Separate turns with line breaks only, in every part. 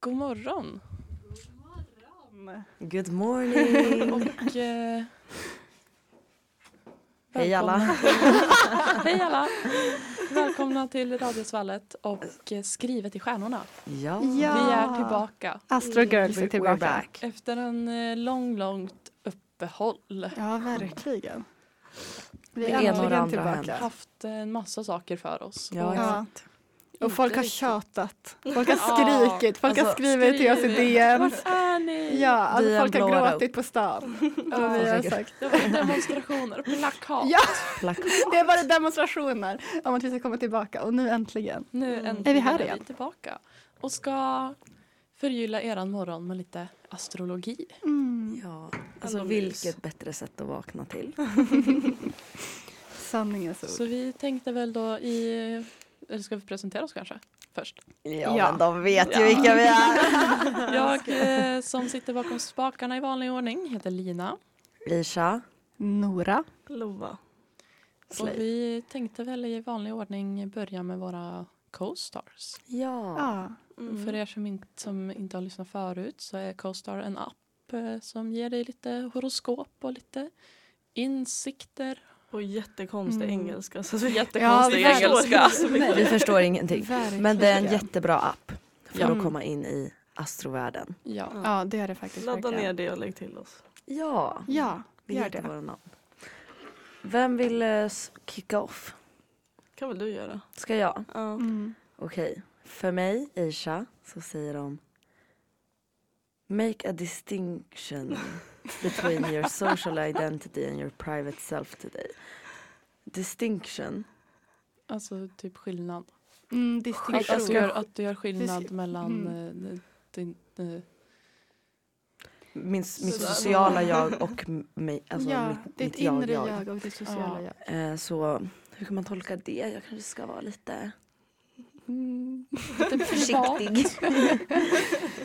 God morgon
Good morning!
och eh,
Hej alla!
Hej alla! Välkomna till Radiosvallet och eh, Skrivet i stjärnorna.
Ja,
Ja.
Vi är tillbaka
Astro Girls är
we're
tillbaka.
back.
efter en eh, lång, långt uppehåll.
Ja, verkligen. Vi
Det
är
ena och det
äntligen
andra har
tillbaka.
haft en massa saker för oss.
Ja,
Och
Ja. Och
Inte
folk har
riktigt.
tjatat. Folk har
Ja,
skrikit. Folk har
alltså,
skrivit till oss i DN.
Vart är ni?
Ja,
Vi
alltså
är
folk har
blåa
gråtit på stan. Och vi har
säkert.
sagt.
Det var demonstrationer, plakat.
Ja,
Black.
det har varit demonstrationer om att vi ska komma tillbaka och nu äntligen.
Nu
Mm.
äntligen
Är vi här
vi
igen?
tillbaka och ska förgylla eran morgon med lite astrologi.
Mm,
Ja, alltså
Alla
vilket
mys.
bättre sätt att vakna till.
sanningens
Så
ord.
vi tänkte väl då i... Eller ska vi presentera oss kanske? Först.
Ja,
Ja.
men de vet ju
Ja.
vilka vi är.
Jag eh, som sitter bakom spakarna i vanlig ordning heter Lina.
Isha.
Nora.
Lova.
Och
Slay.
vi tänkte väl i vanlig ordning börja med våra co-stars.
Ja.
Ja.
Mm.
För er som inte, som inte har lyssnat förut så är co-star en app eh, som ger dig lite horoskop och lite insikter.
Och jättekonstig
Mm.
engelska. Så vi
Jättekonstig
Ja, engelska.
Vi förstår ingenting.
Verkligen.
Men det är en jättebra app för
Ja.
att komma in i astrovärlden.
Ja.
Ja, det är det faktiskt.
Ladda
verkligen.
ner det och lägg till oss.
Ja,
Ja,
vi
gör
hittar
det.
våra namn. Vem vill eh, s- kicka off?
kan väl du göra?
Ska jag?
Ja.
Mm.
Okej, för mig, Isha, så säger de Make a distinction between your social identity and your private self today. Distinction.
Alltså typ skillnad.
Mm,
Att, att, du
distinktion.
gör, att du gör skillnad mellan eh, din, eh,
Min, mitt
Så-
sociala jag och m- mig, alltså
Ja,
mitt,
ditt
mitt jag,
inre
jag.
jag och ditt sociala jag.
Eh, så hur kan man tolka det? Jag kanske ska vara lite
Mm.
lite privat.
försiktig.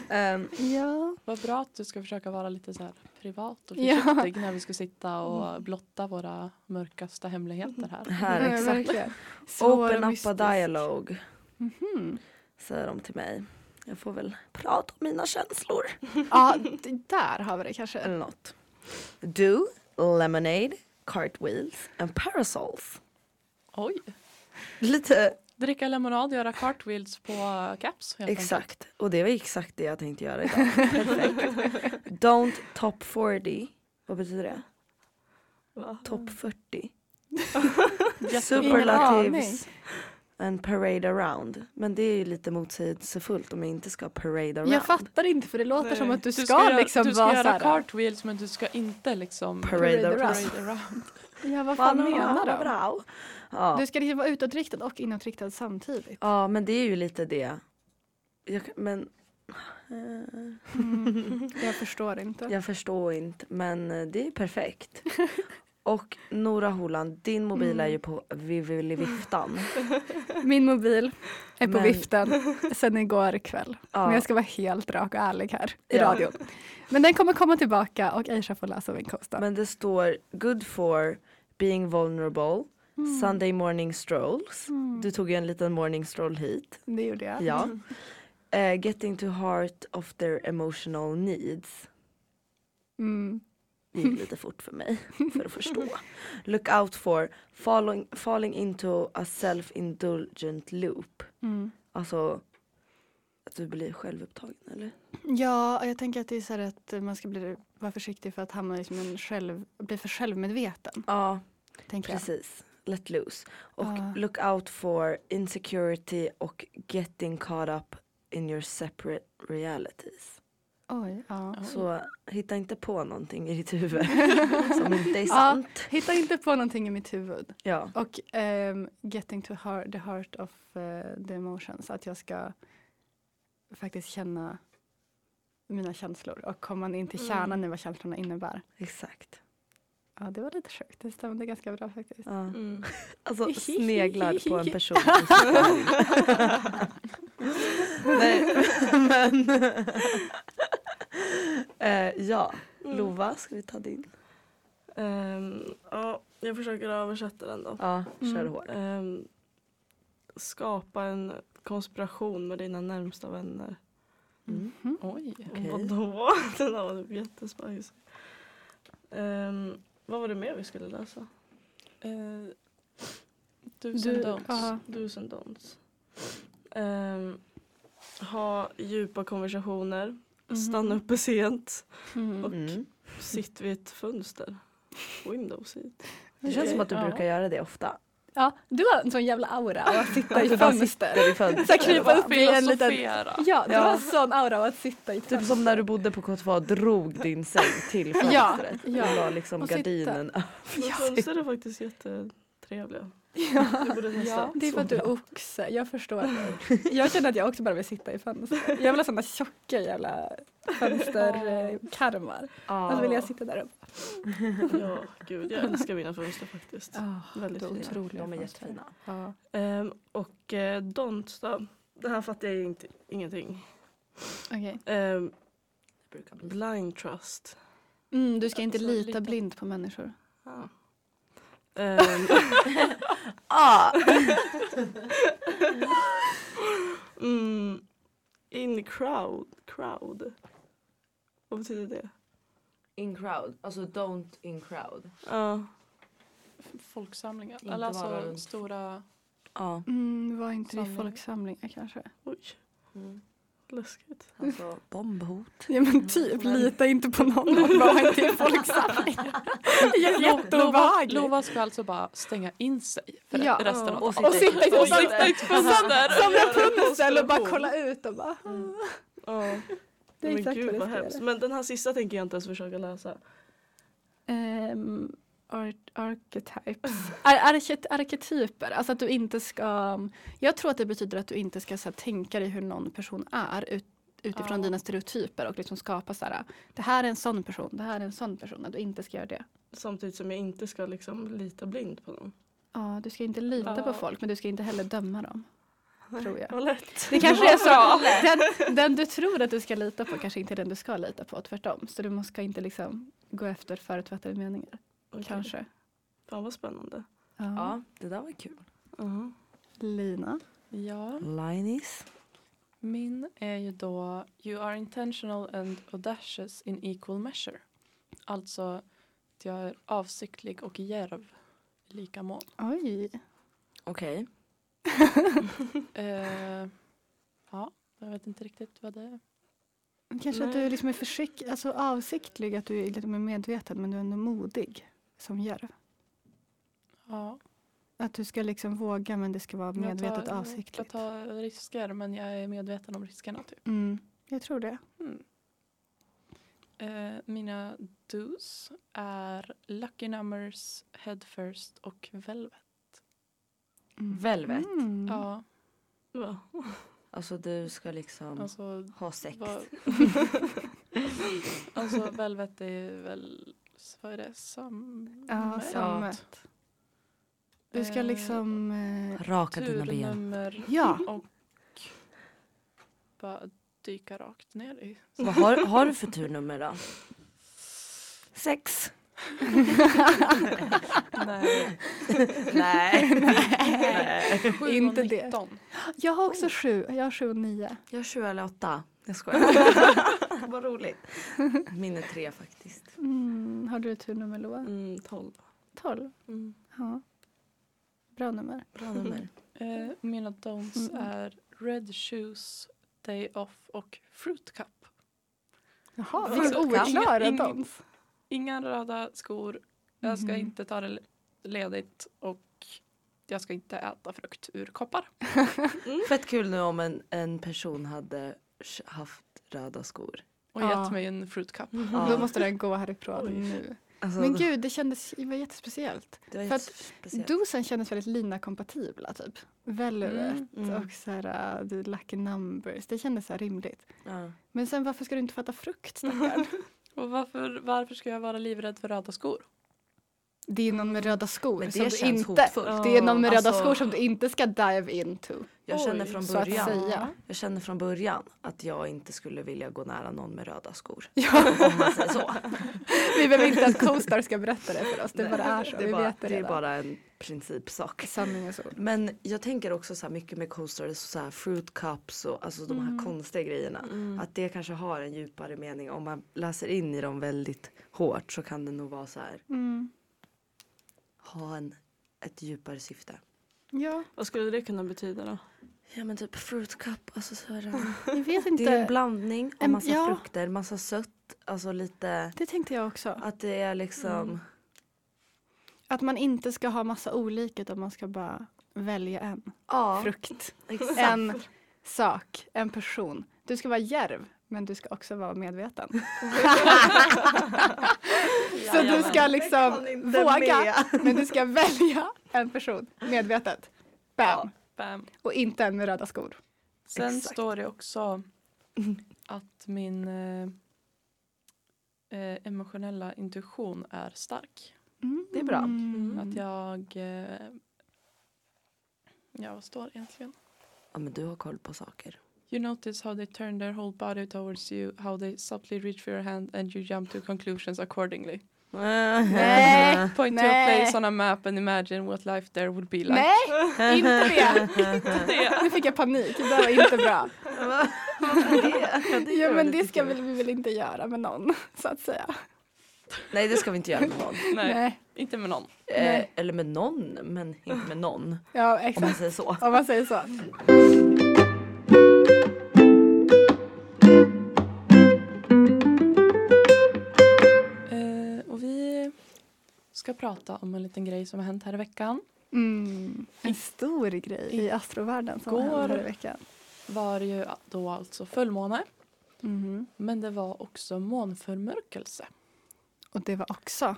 Ehm,
Ja.
Vad bra att du ska försöka vara lite så här privat och
Ja.
försiktig när vi ska sitta och blotta våra mörkaste hemligheter här.
här,
Ja,
exakt.
verkligen. Svår och
Open up a
mystisk.
dialogue.
Mhm.
säger de till mig. Jag får väl prata om mina känslor.
Ja, det där har vi det kanske.
Eller något. Do, lemonade, cartwheels and parasols.
Oj!
Lite
Dricka lemonad och göra cartwheels på caps. helt enkelt.
exakt. Och det var exakt det jag tänkte göra idag. Perfekt. Don't top 40. Vad betyder det?
Va?
Top 40.
Jättebra.
Mm. Ingen
Superlatives. And parade around. Men det är ju lite motsägelsefullt om jag inte ska parade around.
Jag fattar inte för det låter
Nej.
som att du
Du
ska,
ska, göra-
liksom
du ska
vara
göra
såhär.
cartwheels men du ska inte liksom
Parade
Parade
around.
parade around.
Ja vad fan menar de?
Bra. Ja.
Du ska liksom vara utåtriktad och inåtriktad samtidigt.
Ja, men det är ju lite det. Jag, kan- men... eh,
Mm. Jag förstår inte.
Jag förstår inte, men eh, det är perfekt. Och Nora Holand, din mobil är
Mm.
ju på viftan.
Min mobil är på
Men-
viften sen igår kväll.
Ja.
Men jag ska vara helt rak och ärlig här i
Ja.
radion. Men den kommer komma tillbaka och Aisha får läsa min kosta.
Men det står good for being vulnerable,
Mm.
Sunday morning strolls. Du tog ju en liten morning stroll hit.
Det gjorde jag.
Ja. Eh, getting to heart of their emotional needs.
Mm.
Det gick lite fort för mig för att förstå. Look out for falling, falling into a self-indulgent loop.
Mm.
Alltså att du blir självupptagen eller?
Ja, och jag tänker att det är så här att man ska bli, vara försiktig för att hamna liksom en själv, bli för självmedveten.
Ja,
Tänker jag.
precis. Let loose. Och
Ja.
look out for insecurity och getting caught up in your separate realities.
Oj, ja.
Så hitta inte på någonting i ditt huvud som inte är sant.
Hitta inte på någonting i mitt huvud.
Ja.
Och ehm, getting to heart, the heart of eh, the emotions. Att jag ska faktiskt känna mina känslor och komma in till kärnan
Mm.
i vad känslorna innebär.
exakt.
Ja, det var lite sjukt. Det stämde ganska bra faktiskt.
Ja.
Mm.
Alltså sneglar på en person. i Stockholm. Nej, men... eh, ja, Lova, ska vi ta din?
Mm. Ehm, ja, jag försöker översätta den då.
Ja, kör
Mm.
hårt.
Ehm, skapa en konspiration med dina närmsta vänner.
Mm.
Mhm.
Oj.
Okej.
Vadå? Den där var typ jättespajsig. Ehm, vad var det mer vi skulle läsa?
Eh, do's and don'ts.
ja.
Do's and don'ts. Ehm, ha djupa konversationer.
Mhm.
Stanna uppe sent.
Mm.
Och-
Mm.
Sitt vid ett fönster. Window seat.
Det känns som att du
Ja.
brukar göra det ofta.
Ja, du har en sån jävla aura av att sitta i
Att du bara
fönster.
Där i fönstret.
Så här krypa upp i en liten...
Filosofera.
Ja, du
Ja.
har en sån aura av att sitta i
Typ
fönster.
som när du bodde på KTH drog din säng till
Ja,
fönstret
ja.
och la liksom
Och sitta.
gardinen
Men fönster är faktiskt jättetrevliga. Du borde testa.
Ja, det är för att du är oxe, jag förstår. det. Jag känner att jag också bara vill sitta i fönster. Jag vill ha såna tjocka jävla fönsterkarmar. Och
Alltså,
så vill jag sitta där uppe.
Ja, Ah. gud jag älskar mina fönster faktiskt. Väldigt
det är
fina.
otroliga
De är
fönster.
jättefina.
Ja.
Ehm, och eh, don't då. Det här fattar jag inte, ingenting.
Okej.
Ehm,
Det brukar bli-
blind trust.
Mm, du ska inte
Alltså,
lita
lita-
blint på människor.
Ja. Ehm,
Ah!
mm, in crowd. crowd. Vad betyder det?
In crowd, alltså don't in crowd.
Ja,
Folksamlingar.
Inte
Eller
vara
alltså
runt.
stora...
Ja.
Mm, var inte
det i
det folksamlingar kanske?
oj, läskigt.
Mm. Alltså bombhot.
Ja men typ, lita inte på någon och var inte i folksamlingar. Det är
Lova,
jätteobehagligt.
Lova ska alltså bara stänga in sig för
Ja.
resten av
Och
dagen.
Och sitta i
Och
ett
sitta i ett fönster.
Som Rapunzel och bara kolla ut och bara. "Ah,
Ja,
Det är
men
exakt vad
gud
jag
vad
ska göra.
hemskt. Men den här sista tänker jag inte ens försöka läsa.
Um, archetypes. Ar- arket- arketyper, alltså att du inte ska... Jag tror att det betyder att du inte ska så här, tänka dig hur någon person är ut,
Ja.
utifrån dina stereotyper och liksom skapa så här, det här är en sån person, det här är en sån person, att du inte ska göra det.
Samtidigt som jag inte ska liksom lita blind på någon.
Ja, du ska inte lita
Ja.
på folk men du ska inte heller döma dem. Tror jag.
Vad lätt.
Det kanske är så. Den, den du tror att du ska lita på kanske inte är den du ska lita på, tvärtom. Så du ska inte liksom gå efter förutfattade meningar.
Okej.
Kanske.
Fan vad spännande.
Ja.
Ja, det där var kul.
uh
Lina.
Ja,
Linis.
min är ju då You are intentional and audacious in equal measure. Alltså att jag är avsiktlig och djärv i lika mån.
Oj.
Okej.
Eh, ja, jag vet inte riktigt vad det är.
Kanske att du
Nej.
liksom är försikt, alltså avsiktlig, att du är lite mer medveten men du är ändå modig som djärv.
Ja,
Att du ska liksom våga men det ska vara medvetet
Jag
avsiktligt.
tar risker men jag är medveten om riskerna typ.
Mm, jag tror det.
Mm. Eh, mina dos är Lucky Numbers, Head First och Velvet.
Mm.
Velvet.
Mm.
Ja,
Va?
Alltså du ska liksom
alltså
ha sex.
Vad- alltså Velvet är väl, vad är det, sam...
Ja, sammet. Du ska
Mm. Eh,
liksom... Eh,
Raka dina ben.
Turnummer
ja.
bara dyka rakt ner i.
Vad har, har du för turnummer då? Sex.
Nej,
Nej. Nej.
sju och
Inte det.
19.
Jag har också sju. Jag har sju och nio.
Jag har sju eller åtta. Jag skojar. Vad roligt. Min är tre faktiskt.
Mm. Har du ett turnummer Loa?
Mm, 12.
Tolv.
Mm.
Ja. Bra nummer.
Bra nummer.
Eh, mina dons
Mm.
är Red Shoes, Day Off och Fruit Cup.
Jaha,
vilken
vilken
oklara
oklara
dans.
dans.
Inga röda skor, jag ska
Mhm.
inte ta det ledigt och jag ska inte äta frukt ur koppar.
Fett kul nu om en, en person hade sh- haft röda skor.
Och
Ja.
gett mig en fruit cup.
Ja.
Mm-hmm. Då måste den gå härifrån
Oj.
nu.
Alltså,
Men gud, det kändes det var jättespeciellt.
det var
för
ju
att
speciellt.
Dosen kändes väldigt Lina-kompatibla, typ. Velvet
Mm, mm.
och så här, uh, the lucky numbers. Det kändes så här rimligt.
Ja.
Men sen varför ska du
Mm.
inte fatta frukt, stackarn?
Och varför, varför ska jag vara livrädd för röda skor?
Det är någon med röda skor
Men
som
det
du
känns
inte...
hotfullt.
Det är någon med röda
Alltså-
skor som du inte ska dive into.
Jag
Oj,
känner från
så att
början.
säga.
Jag känner från början att jag inte skulle vilja gå nära någon med röda skor.
Ja,
Om man säger så.
vi behöver inte att Co-star ska berätta det för oss. Det
Nej,
bara är så.
det är
vi
bara,
vet det,
det är
redan.
bara en principsak.
Sanningens ord.
Men jag tänker också så här mycket med coasters och så här fruit cups och alltså de här konstiga grejerna.
Mm.
Att det kanske har en djupare mening. Om man läser in i dem väldigt hårt så kan det nog vara så här
Mm.
ha en, ett djupare syfte.
Ja,
Vad skulle det kunna betyda då?
Ja men typ fruit cup, alltså så här,
jag vet
det är en
inte.
blandning av
En-
massa
ja.
frukter, massa sött, alltså lite
Det tänkte jag också.
att det är liksom
Att man inte ska ha massa olika utan man ska bara välja en
ja
frukt.
exakt.
En sak, en person. Du ska vara djärv men du ska också vara medveten. Så du ska liksom våga men du ska välja en person medvetet. Bam!
Bam.
Och inte en med röda skor.
Sen
Exakt.
står det också att min eh, eh, emotionella intuition är stark.
Det är bra.
Mm.
Mm. Att jag... Eh, ja, vad står det egentligen?
Ja men du har koll på saker.
You notice how they turn their whole body towards you, how they subtly reach for your hand and you jump to conclusions accordingly.
Nej.
Point to a
Nej.
place on a map and imagine what life there would be like.
Nej, inte det! Nu fick jag panik, det där var inte bra. Jo men det ska väl, vi väl inte göra med någon så att säga.
Nej det ska vi inte göra med någon.
Nej, inte med någon.
Eh,
Nej.
eller med någon men inte med någon.
Ja
Om man
exakt,
säger så.
om man säger så.
Eh, och vi ska prata om en liten grej som har hänt här i veckan.
Mm. En stor grej i astrovärlden som
Igår.
hände här i veckan.
Var ju då alltså fullmåne,
Mhm.
men det var också månförmörkelse.
Och det var också.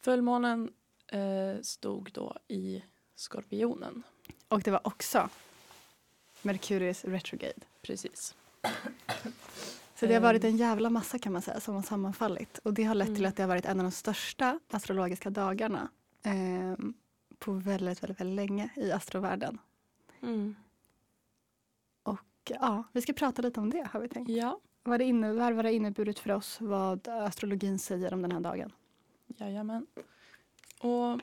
Fullmånen eh, stod då i Skorpionen,
Och det var också Merkurius retrograde.
precis.
Så det har varit en jävla massa kan man säga som har sammanfallit. Och det har lett till
Mm.
att det har varit en av de största astrologiska dagarna ehm, på väldigt, väldigt, väldigt länge i astrovärlden. Och ja, vi ska prata lite om det har vi tänkt.
Ja,
Vad det innebär, vad det har inneburit för oss, vad astrologin säger om den här dagen.
jajamän. Och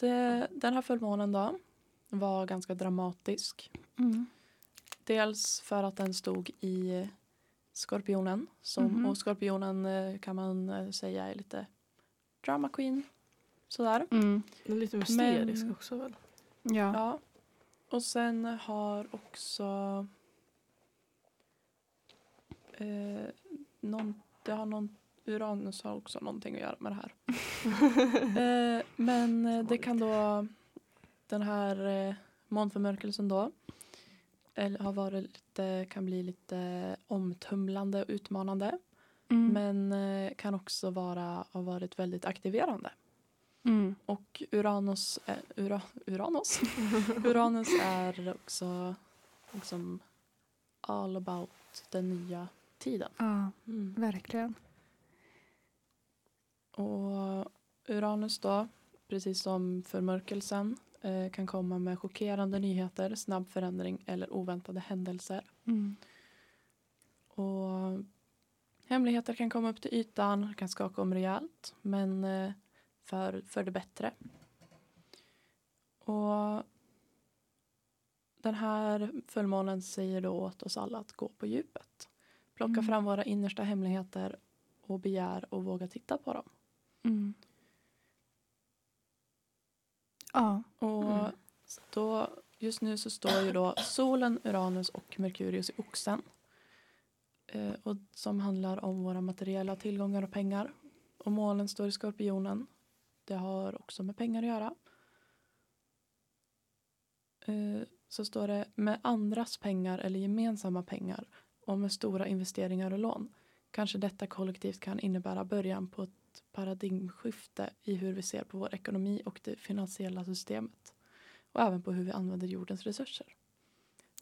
det, den här fullmånen då var ganska dramatisk. Dels för att den stod i Skorpionen. Som,
Mhm.
Och Skorpionen eh, kan man eh, säga är lite drama queen. Sådär.
Mm.
Den är lite mysterisk
Men-
också väl?
Ja.
Ja. Och sen har också eh, någon, det har någon, Uranus har också någonting att göra med det här. eh, men eh, det kan då den här eh, månförmörkelsen då eller har varit lite, kan bli lite omtumlande och utmanande
Mm.
men eh, kan också vara, ha varit väldigt aktiverande.
Mm.
Och Uranus, eh, Ura, Uranus? Uranus är också liksom all about den nya tiden.
Ja, verkligen.
Och Uranus då, precis som förmörkelsen, eh, kan komma med chockerande nyheter, snabb förändring eller oväntade händelser.
Mm.
Och hemligheter kan komma upp till ytan, kan skaka om rejält, men eh, för, för det bättre. Och den här fullmånen säger då åt oss alla att gå på djupet. Plocka
Mm.
fram våra innersta hemligheter och begär och våga titta på dem.
Mm. Ja.
Och
Mm.
då, just nu så står ju då solen, Uranus och Merkurius i oxen. Eh, och som handlar om våra materiella tillgångar och pengar. Och målen står i skorpionen. Det har också med pengar att göra. Eh, så står det med andras pengar eller gemensamma pengar och med stora investeringar och lån. Kanske detta kollektivt kan innebära början på ett paradigmskifte i hur vi ser på vår ekonomi och det finansiella systemet. Och även på hur vi använder jordens resurser.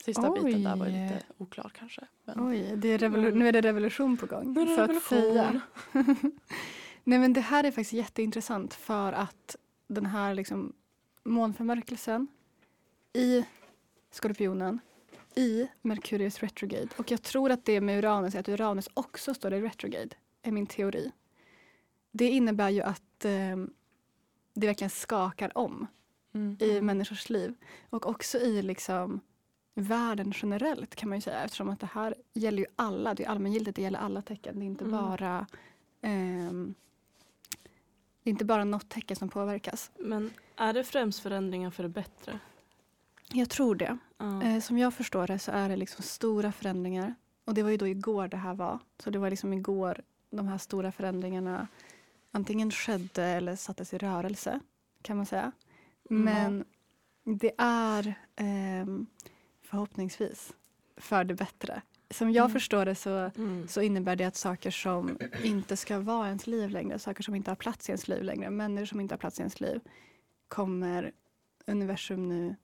Sista biten där var ju
Oj.
lite oklar kanske. Men
Oj, det är revolu- nu är det revolution på gång.
Nu är det
så att
revolution.
säga. Nej men det här är faktiskt jätteintressant för att den här liksom månförmörkelsen i Skorpionen i Mercurius retrograde och jag tror att det är med Uranus, att Uranus också står i retrograde är min teori. Det innebär ju att eh, det verkligen skakar om
Mm.
i människors liv och också i liksom världen generellt kan man ju säga eftersom att det här gäller ju alla, det är allmängiltigt, det gäller alla tecken, det är inte
Mm.
bara ehm, det är inte bara något tecken som påverkas.
Men är det främst förändringar för det bättre?
Jag tror det.
Ja.
Eh, som jag förstår det så är det liksom stora förändringar. Och det var ju då igår det här var. Så det var liksom igår de här stora förändringarna antingen skedde eller sattes i rörelse kan man säga. Men det är ehm, förhoppningsvis för det bättre. Som jag
Mm.
förstår det så,
Mm.
så innebär det att saker som inte ska vara i ens liv längre, saker som inte har plats i ens liv längre, människor som inte har plats i ens liv kommer universum nu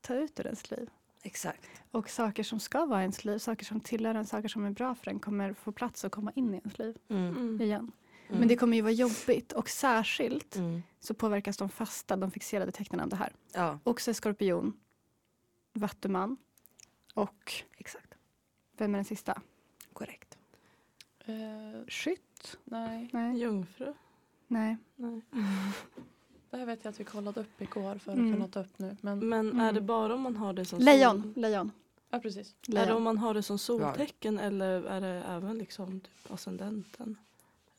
ta ut ur ens liv.
Exakt.
Och saker som ska vara i ens liv, saker som tillhör en, saker som är bra för en kommer få plats och komma in i ens liv
Mm.
Mm.
igen. Men
Mm.
det kommer ju vara jobbigt och särskilt
Mm.
så påverkas de fasta, de fixerade tecknen av det här.
Ja,
Också skorpion, vattuman och
exakt.
vem är den sista?
Korrekt.
Eh,
Skytt?
nej,
Nej.
Jungfru?
Nej.
Nej.
det här vet jag att vi kollade upp igår för att
Mm.
kunna ta upp nu. Men
Men är
Mm.
det bara om man har det som
Lejon.
sol-
Lejon.
ja, precis.
Är det om
Lejon.
man har det som soltecken eller är det även liksom typ ascendenten?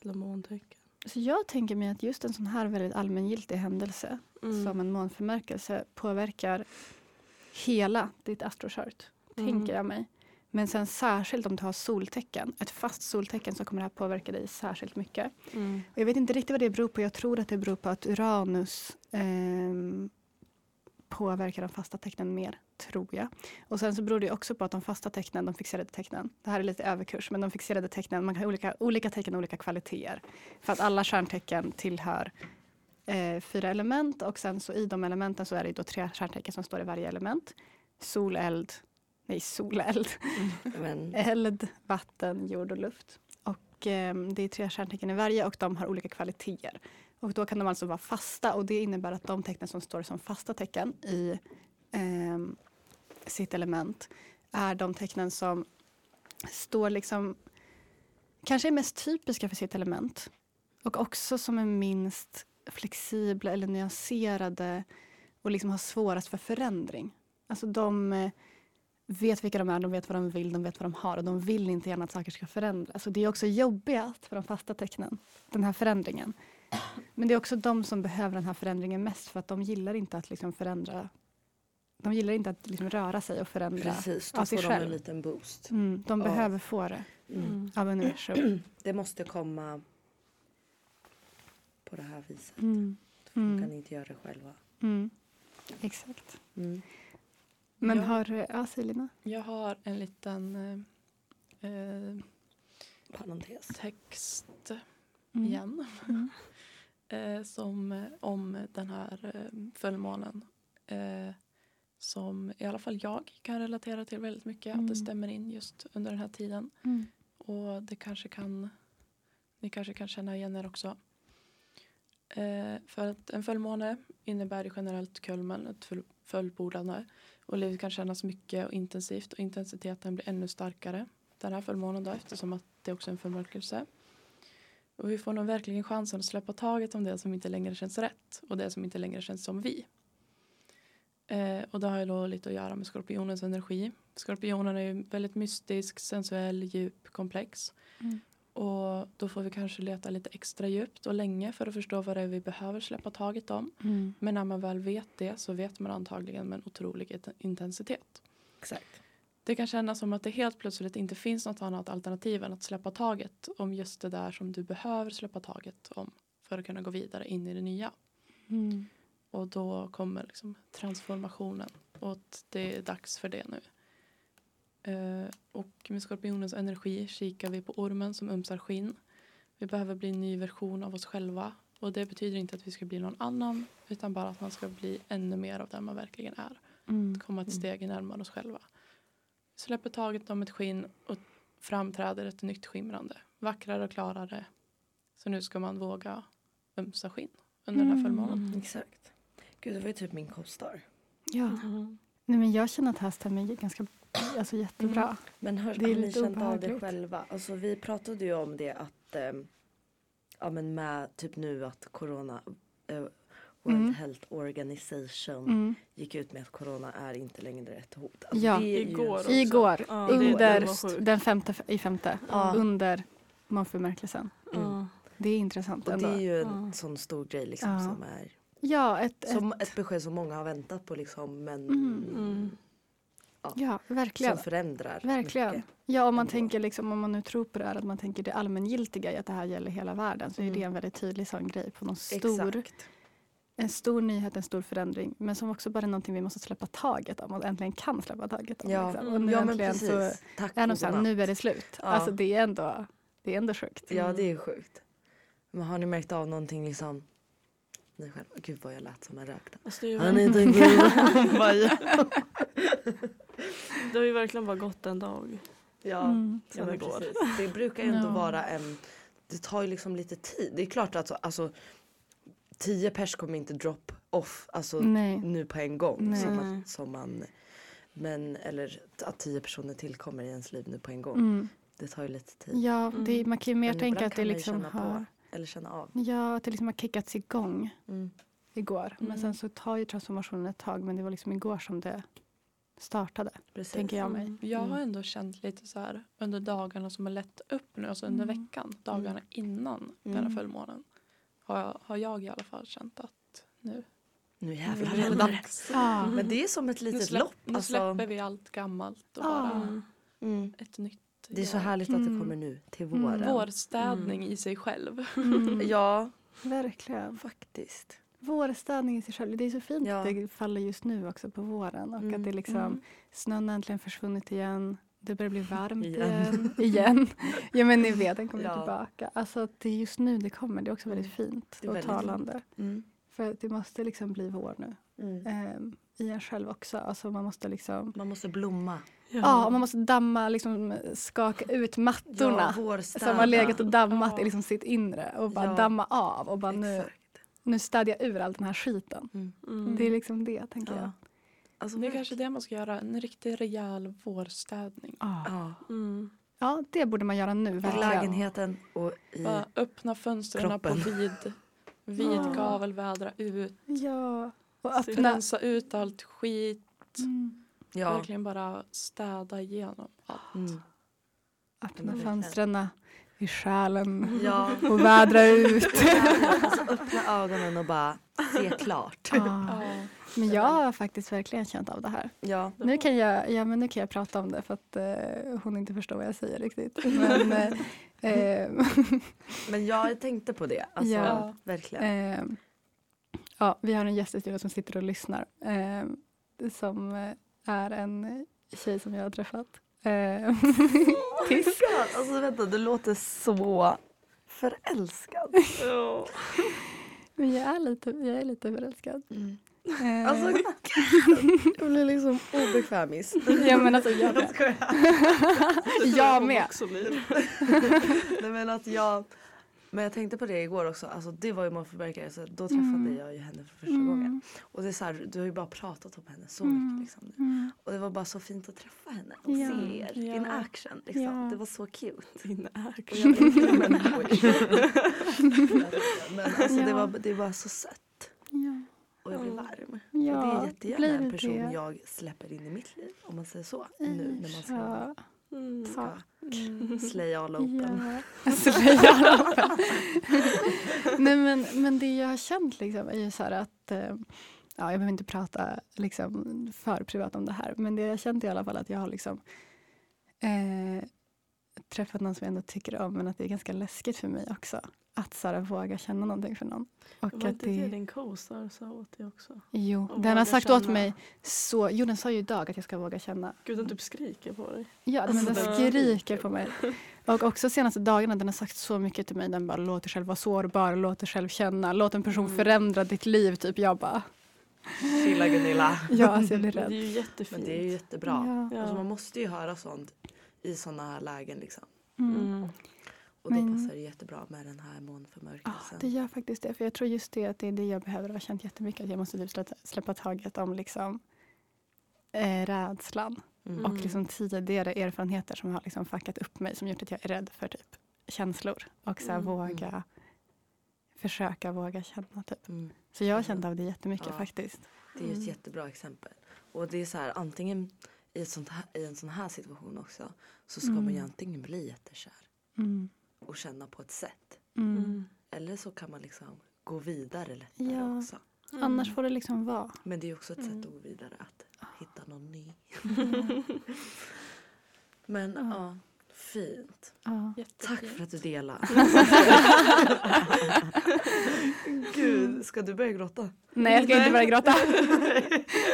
Eller måntecken?
Så jag tänker mig att just en sån här väldigt allmängiltig händelse
Mm.
som en månförmörkelse påverkar hela ditt astrochart.
Mm.
tänker jag mig. Men sen särskilt om du har soltecken, ett fast soltecken så kommer det här påverka dig särskilt mycket.
Mm.
Och jag vet inte riktigt vad det beror på. Jag tror att det beror på att Uranus ehm, påverkar de fasta tecknen mer, tror jag. Och sen så beror det ju också på att de fasta tecknen, de fixerade tecknen, det här är lite överkurs, men de fixerade tecknen, man kan ha olika, olika tecken och olika kvaliteter. För att alla stjärntecken tillhör eh, fyra element och sen så i de elementen så är det ju då tre stjärntecken som står i varje element. Sol, eld, nej sol, eld,
Men,
Eld, vatten, jord och luft. Och eh, det är tre kärntecken i varje och de har olika kvaliteter. Och då kan de alltså vara fasta och det innebär att de tecknen som står som fasta tecken i ehm, sitt element är de tecknen som står liksom kanske är mest typiska för sitt element och också som är minst flexibla eller nyanserade och liksom har svårast för förändring. Alltså de eh, vet vilka de är, de vet vad de vill, de vet vad de har och de vill inte gärna att saker ska förändras. Och det är också jobbigast för de fasta tecknen, den här förändringen. Men det är också de som behöver den här förändringen mest för att de gillar inte att liksom förändra. De gillar inte att liksom röra sig och förändra.
precis, då
av sig
får de
själv.
en liten boost.
Mm, de
Ja.
behöver få det
Mm.
av universum.
Det måste komma på det här viset.
Mm.
De
Mm.
kan inte göra det själva.
Mm. Exakt.
Mm.
Men
Ja.
har... Ja, säg Lina.
Jag har en liten eh, eh,
Parentes.
text
Mm.
igen.
Mm.
eh, som eh, om den här eh, fullmånen. Eh, som i alla fall jag kan relatera till väldigt mycket. Att
Mm.
det stämmer in just under den här tiden.
Mm.
Och det kanske kan, ni kanske kan känna igen er också. Eh, för att en fullmåne innebär ju generellt kulmen, ett full, fullbordande. Och livet kan kännas mycket och intensivt och intensiteten blir ännu starkare den här fullmånen då eftersom att det också är en förmörkelse. Och vi får nog verkligen chansen att släppa taget om det som inte längre känns rätt och det som inte längre känns som vi. Eh, och det har ju då lite att göra med skorpionens energi. Skorpionen är ju väldigt mystisk, sensuell, djup, komplex.
Mm.
Och då får vi kanske leta lite extra djupt och länge för att förstå vad det är vi behöver släppa taget om.
Mm.
Men när man väl vet det så vet man antagligen med en otrolig int- intensitet.
Exakt.
Det kan kännas som att det helt plötsligt inte finns något annat alternativ än att släppa taget om just det där som du behöver släppa taget om för att kunna gå vidare in i det nya.
Mm.
Och då kommer liksom transformationen och att det är dags för det nu. Eh, och med skorpionens energi kikar vi på ormen som umsar skinn. Vi behöver bli en ny version av oss själva och det betyder inte att vi ska bli någon annan utan bara att man ska bli ännu mer av den man verkligen är
Mm.
komma ett steg närmare oss själva. Vi släpper taget om ett skinn och framträder ett nytt skimrande, vackrare och klarare, Så nu ska man våga ömsa skinn under den här
Mm. Mm.
fullmånen.
Exakt. Gud, det var ju typ min kostar.
Ja.
Mm.
Nej, men jag känner att det här stämmer ju ganska alltså, jättebra.
Men hör,
Det är
har ni
lite
känt av det
obehagligt.
själva? Alltså, vi pratade ju om det att ehm, ja, men med typ nu att corona eh, World
Mm.
Health Organization
Mm.
gick ut med att corona är inte längre ett hot. Alltså,
Ja.
det är ju-
Igår. också.
Mm. Igår,
Ja, det-
under
den var sjuk.
den femte, i femte,
Ja.
under månförmärkelsen.
Mm.
Det är intressant
Och det
ändå.
är ju en
Ja.
sån stor grej liksom
Ja.
som är
Ja, ett, ett,
som ett besked som många har väntat på liksom men
Mm.
Mm.
ja verkligen.
som förändrar.
Verkligen.
mycket.
Ja, om man
ändå.
tänker liksom, om man nu tror på det här att man tänker det allmängiltiga i att det här gäller hela världen så är
Mm.
det en väldigt tydlig sån grej på någon stor,
Exakt.
en stor nyhet, en stor förändring men som också bara är någonting vi måste släppa taget om och äntligen kan släppa taget om.
Ja,
liksom.
Mm.
Och nu
ja men
äntligen
precis.
så
Tack
är de
och
så här,
godnatt.
nu är det slut.
Ja.
Alltså det är ändå, det är ändå sjukt.
Ja det är sjukt. Men har ni märkt av någonting liksom? Ni själva, gud vad jag lät som en rökta.
Alltså, det,
Han
är
är
ju,
inte en god Vad jag-
det har ju verkligen bara gått en dag.
Ja,
Mm.
ja men
det går.
precis. Det brukar ju ändå
Ja.
vara en, det tar ju liksom lite tid. Det är klart att alltså, tio pers kommer inte drop off alltså
Nej.
nu på en gång. Som,
Nej.
att, som man, men, eller att tio personer tillkommer i ens liv nu på en gång.
Mm.
Det tar ju lite tid.
Ja, det,
Mm.
man kan ju mer
Men ibland
tänka att det
kan man ju
liksom
känna på.
har,
Eller känna av.
ja, att det liksom har kickats igång.
Mm.
igår. Men
Mm.
sen så tar ju transformationen ett tag. Men det var liksom igår som det startade,
Precis.
tänker jag mig.
Mm.
Jag
Mm.
har ändå känt lite så här under dagarna som har lätt upp nu, alltså under
Mm.
veckan, dagarna innan den
Mm.
här fullmånen. Har jag, har jag i alla fall känt att nu,
Nu
nu
jävlar
är det
händer det.
dags.
Ja.
Men det är som ett
Mm. Nu,
litet
släpp,
lopp.
nu
alltså.
släpper vi allt gammalt och
Ja.
bara
Mm.
Mm.
ett nytt
Det är så
år.
härligt att det
Mm.
kommer nu till
Mm.
våren.
Vårstädning i sig själv.
Mm.
Ja,
Verkligen.
faktiskt.
Vårstädning i sig själv. Det är så fint att
Ja.
det faller just nu också på våren. Och
Mm.
att det liksom,
Mm.
snön har äntligen försvunnit igen. Det börjar bli varmt
Igen.
igen. igen. Ja men ni vet, den kommer
Ja. Mm.
tillbaka. Alltså att det är just nu det kommer. Det är också väldigt fint
Det är
och
väldigt
talande.
Mm.
För att det måste liksom bli vår nu.
Mm.
Ehm, I en själv också. Alltså man måste liksom
Man måste blomma.
Ja, och man måste damma, liksom, skaka ut mattorna som har
vårstäda.
legat och dammat
Ja.
i liksom sitt inre och bara
Ja.
damma av och bara nu,
Exakt.
nu städar jag ur all den här skiten.
Mm.
Det är liksom det, tänker jag.
Ja. Alltså,
Det är kanske det man ska göra, en riktigt rejäl vårstädning.
Ja.
ja.
Mm.
ja, det borde man göra nu,
I
verkligen.
lägenheten och i...
Bara öppna fönstren på
Kroppen. Ah.
vid, vid
Ja.
gavel, vädra ut,
Ja, och öppna.
rensa ut allt skit,
Mm.
Ja.
verkligen bara städa igenom allt.
Mm.
Öppna
verkligen.
fönstren i själen
ja.
och vädra ut.
alltså, öppna ögonen och bara se klart.
Ja.
Ah.
Ja.
Men jag har faktiskt verkligen känt av det här.
Ja.
Nu kan, jag, ja, men nu kan jag prata om det för att eh, hon inte förstår vad jag säger riktigt. Men, eh, eh,
Men jag tänkte på det. Alltså,
Ja.
Verkligen.
eh, ja, vi har en gäst i studion som sitter och lyssnar. Eh, som eh, är en tjej som jag har träffat. Eh, Kiss.
God, alltså vänta, du låter så förälskad.
Ja.
Men jag är lite, jag är lite förälskad. Eh,
Alltså, jag blir liksom obekvämis.
ja, men alltså, jag, med. jag med.
Också blir.
Nej, men att jag... Men jag tänkte på det igår också, alltså det var ju målförverkare så då träffade
Mm.
jag ju henne för första gången.
Mm,
Och det är så här, du har ju bara pratat om henne så
Mm.
mycket liksom.
mm.
Och det var bara så fint att träffa henne och
Ja.
se er in
Ja.
action liksom.
Ja.
Det var så cute.
Din
Och
action.
jag älskar människor. men alltså det,
Ja.
var, det var så sött
Ja.
och jag blev
Ja.
varm. och det
mm. Ja,
är jättegärna
blir
en person
det.
jag släpper in i mitt liv om man säger så. Nu när man ska,
Ja.
Mm.
ska
Mm.
slay all open.
Ja. Slöja. Nej, men, men det jag har känt liksom är ju så här att eh, Ja, jag behöver inte prata liksom för privat om det här, men det jag har känt i alla fall att jag har liksom, eh, träffat någon som jag ändå tycker om, men att det är ganska läskigt för mig också. Att så här, våga känna någonting för någon. Och
Var
att
inte det
det,
din co-star sa åt dig också?
jo,
Och
den har
våga
sagt åt
känna.
mig, så, jo den sa ju idag att jag ska våga känna.
Gud, den typ skriker på dig.
Ja, men den
Alltså, den-
skriker på mig. Och också senaste dagarna, den har sagt så mycket till mig. Den bara, låt dig själv vara sårbar, låt dig själv känna, låt en person
Mm.
förändra ditt liv. Typ. Jag bara,
Chilla Gunilla.
ja alltså jag blir
Men
rädd.
det är ju jättefint.
Men det är ju jättebra.
Ja.
Ja.
Alltså man måste ju höra sånt i såna här lägen liksom.
Mm.
Mm.
Och då
Men-
passar det jättebra med den här
Ja,
månförmörkelsen.
det gör faktiskt det. För jag tror just det att det är det jag behöver. Jag har känt jättemycket att jag måste typ släppa, släppa taget om liksom, eh, rädslan.
Mm.
Och liksom tidigare erfarenheter som har liksom fuckat upp mig. Som gjort att jag är rädd för typ känslor. Och så här,
Mm.
våga försöka våga känna typ.
Mm.
Så jag kände av det jättemycket
Ja.
faktiskt.
Det är ju ett
Mm.
jättebra exempel. Och det är så här, antingen i, ett sånt här, i en sån här situation också så ska man ju
Mm.
antingen bli jättekär
Mm.
och känna på ett sätt.
Mm.
Eller så kan man liksom gå vidare lättare
Ja.
också.
Annars får det liksom vara.
Men det är ju också ett sätt
Mm.
att gå vidare att
Ah.
hitta någon ny. Men ja,
Ja.
fint.
Ja.
Tack för
Jättefint.
att du delade. Gud, ska du börja gråta?
Nej jag ska inte börja gråta.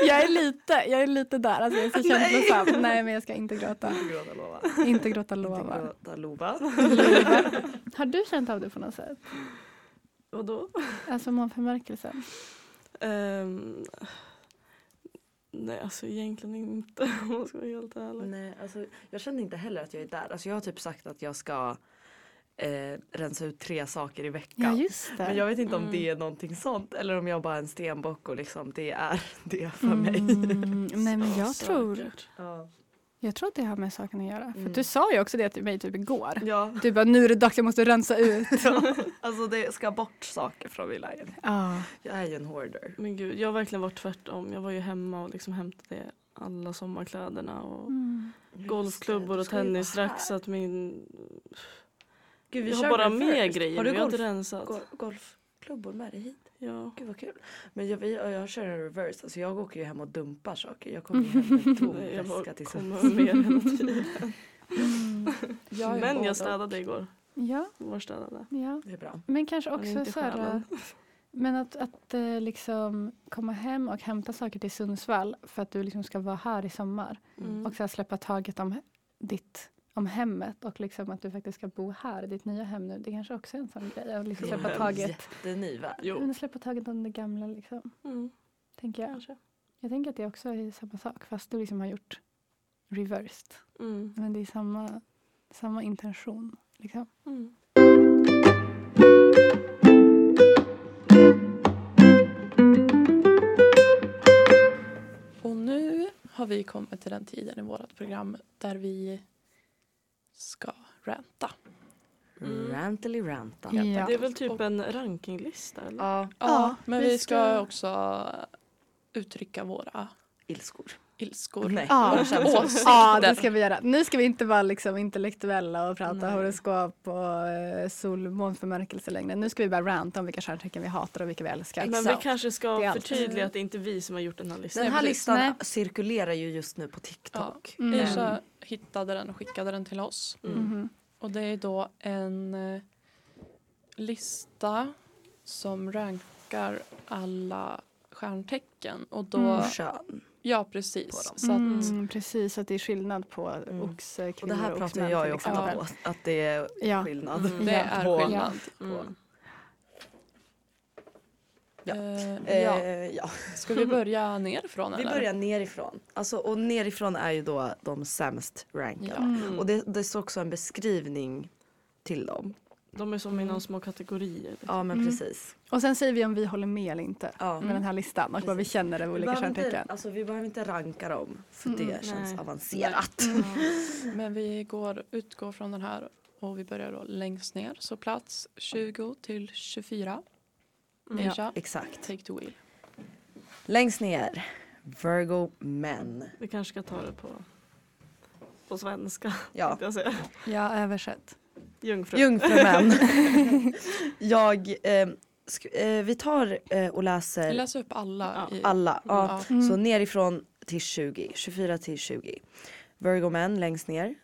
jag, är lite, jag är lite där, alltså, jag är så känslosam. Nej. men jag ska inte gråta.
Inte gråta lova.
Inte gråta
Inte
lova.
gråta lova.
Har du känt av det på något sätt?
Vadå?
Alltså månförmörkelsen?
Ehm, nej, alltså egentligen inte om man ska vara helt ärlig.
Nej, alltså, jag känner inte heller att jag är där. Alltså, jag har typ sagt att jag ska eh, rensa ut tre saker i
Ja
veckan.
just det.
Men jag vet inte om
Mm.
det är någonting sånt eller om jag bara är en stenbock och liksom det är det för mig.
Mm, nej men jag tror,
Säkert.
Ja.
jag tror att det har med saken att göra. För
Mm.
du sa ju också det till mig typ igår.
ja,
Du bara nu är det dags jag måste rensa ut.
alltså det ska bort saker från min lägenhet.
Ja.
Jag är ju en hoarder.
Men gud, jag har verkligen varit tvärtom. Jag var ju hemma och liksom hämtade alla sommarkläderna och
Mm.
golfklubbor
Du
och
ska ju vara
tennisrack så
här.
att min...
Gud, vi
jag har
kör
bara
det
med
first.
grejer
Har
nu,
du
jag har inte
golf-
rensat.
gol- golfklubbor med dig hit?
Ja.
Gud vad kul. Men jag, vi- jag kör en reverse, alltså jag åker ju hem och dumpar saker. Jag kommer ju hem med en tom
Nej, jag
väska till
kommer
Sundsvall.
med hela tiden.
Mm.
Jag är
Men
både
jag
och.
städade igår.
Ja,
Var städade.
ja.
Det är bra.
Men kanske
Men
också
inte
så här,
själen.
men att, att eh, liksom komma hem och hämta saker till Sundsvall för att du liksom ska vara här i sommar
Mm.
och så här släppa taget om ditt om hemmet och liksom att du faktiskt ska bo här i ditt nya hem nu. Det kanske också är en sån grej. Att liksom
Det är
släppa
en
taget.
Jätteny värld.
Jo.
Men att släppa taget om det gamla liksom,
Mm.
tänker jag.
Kanske.
Jag tänker att det också är samma sak fast du liksom har gjort reversed.
Mm.
Men det är samma, samma intention. Liksom.
Mm.
Och nu har vi kommit till den tiden i vårt program där vi ska ranta.
Mm.
Rantily ranta.
Ja.
Det är väl typ en rankinglista eller?
Ja,
Ja,
men
vi
vi
ska-
ska också uttrycka våra
ilskor. Mm.
ilskor.
Nej.
Ja,
Åsikter.
ja, det ska vi göra. Nu ska vi inte vara liksom intellektuella och prata
Nej.
horoskop och eh, sol månförmörkelse längre. Nu ska vi bara ranta om vilka stjärntecken vi hatar och vilka vi älskar.
Men vi
Exakt.
kanske ska
Det är allt.
förtydliga att det inte är vi som har gjort den här listan.
Den här
precis.
listan
Nej.
cirkulerar ju just nu på TikTok.
Ja. Mm.
Irsa hittade den och skickade den till oss.
Mm.
Mhm.
Och det är då en eh, lista som rankar alla stjärntecken. Och då,
Mm.
Kön.
ja
På dem.
precis. Så att,
Mm, precis, så att det är skillnad på
Mm.
oxe,
Och det
kvinnor
här
och
pratar
oxmän
jag
till
ju ofta
exempel.
om, att det är
Ja.
skillnad.
Mm.
Det
Ja.
är
På-
skillnad.
Mm.
Ja.
Eh,
Eh,
ja.
ja.
Ska vi börja nerifrån
Vi
eller?
börjar nerifrån. Alltså, och nerifrån är ju då de sämst rankade.
Ja.
Mm.
Och det, det står också en beskrivning till dem.
De är som inom små kategorier.
Ja men
Mm.
precis.
Och sen säger vi om vi håller med eller inte
Ja.
med den här listan och vad vi
Precis.
känner av
Vi,
olika
Mm. behöver inte,
stjärntecken.
alltså, vi behöver inte ranka dem för
Mm.
det
Nej. Mm.
känns avancerat.
Men vi går, utgår från den här och vi börjar då längst ner. Så plats 20 till 24.
Mm.
Asia,
Exakt.
take the wheel.
Längst ner. Virgo men.
Vi kanske ska ta det på, på svenska.
Ja.
tänkte Jag säga.
Ja, översätt.
Jungfru.
Jungfrumän. Jag, eh, sk- eh, vi tar eh, och läser
Läs upp alla.
Ja,
i,
alla. Ja.
Ja.
Mm.
Så nerifrån till 20, 24 till 20. Virgo man längst ner.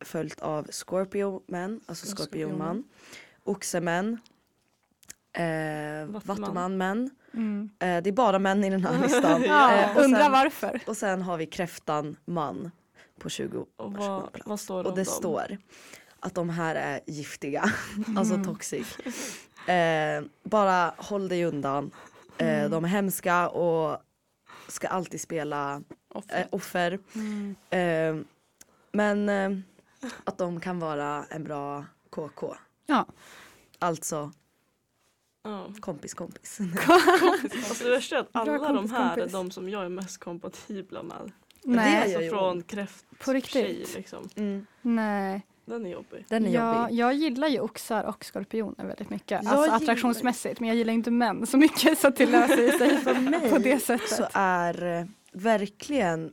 Följt av Scorpio man, alltså
Ja,
Scorpion man.
Scorpion-man.
Oxe man. Eh,
Vattuman.
Vattuman man.
Mm.
Eh, det är bara män i den här listan.
Ja,
Eh, och,
undrar
sen,
varför.
och sen har vi Kräftan man på 20.
Och
varsågod,
vad,
plats.
vad står det
Och
om
det
dem?
står att de här är giftiga, alltså toxic. Eh, bara håll dig undan. Eh, de är hemska och ska alltid spela eh,
offret.
offer. Eh, men eh, att de kan vara en bra KK.
Ja.
Alltså
Ja.
kompis kompis.
Alltså det värsta är att alla de
kompis,
här är
kompis.
de som jag är mest kompatibla med.
Det
Nej,
gör
alltså
ju
från
ont.
På riktigt?
kräfttjej liksom.
Mm.
nej.
Den är jobbig.
Den är
Ja,
jobbig.
jag gillar ju oxar och skorpioner väldigt mycket.
Jag
alltså
gillar-
attraktionsmässigt. Men jag gillar inte män så mycket så att det löser sig
För mig
på det sättet.
så är eh, verkligen